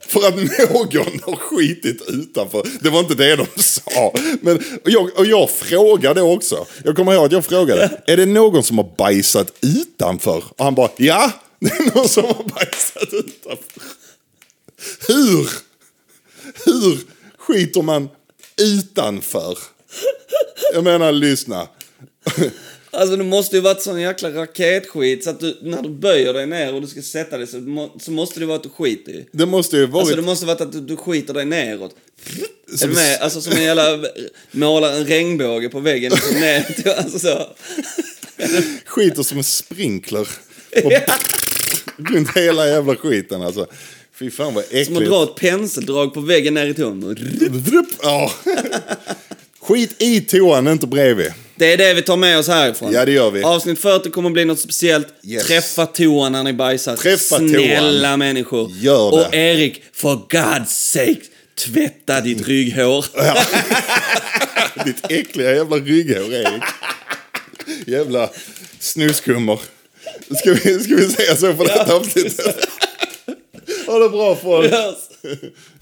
Speaker 2: För att någon har skitit utanför. Det var inte det de sa. Men, och, jag, och jag frågade också. Jag kommer ihåg att jag frågade. Är det någon som har bajsat utanför? Och han bara, ja. Det är någon som har bajsat utanför. Hur? Hur skiter man utanför? Jag menar, lyssna.
Speaker 1: Alltså det måste ju varit sån jäkla raketskit så att du, när du böjer dig ner och du ska sätta dig så, må, så måste det vara att du skiter i.
Speaker 2: Det måste ju varit...
Speaker 1: Alltså det måste varit att du, du skiter dig neråt. Är
Speaker 2: Som-
Speaker 1: du med? Alltså som en jävla, målar en regnbåge på väggen och så ner till, alltså så.
Speaker 2: skiter som en sprinkler. Och runt hela jävla skiten alltså. Fy fan vad äckligt.
Speaker 1: Som att dra ett penseldrag på väggen ner i toan.
Speaker 2: Drupp, ja. Skit i toan, inte bredvid.
Speaker 1: Det är det vi tar med oss härifrån.
Speaker 2: Ja, det gör vi.
Speaker 1: Avsnitt 40 kommer bli något speciellt.
Speaker 2: Yes.
Speaker 1: Träffa toan när ni bajsar.
Speaker 2: Träffa toan.
Speaker 1: Snälla människor.
Speaker 2: Gör det.
Speaker 1: Och Erik, for God's sake, tvätta ditt rygghår.
Speaker 2: Ditt äckliga jävla rygghår, Erik. Jävla snuskummer. Ska vi, ska vi säga så för det här avsnittet? Ha det bra folk.
Speaker 1: Yes.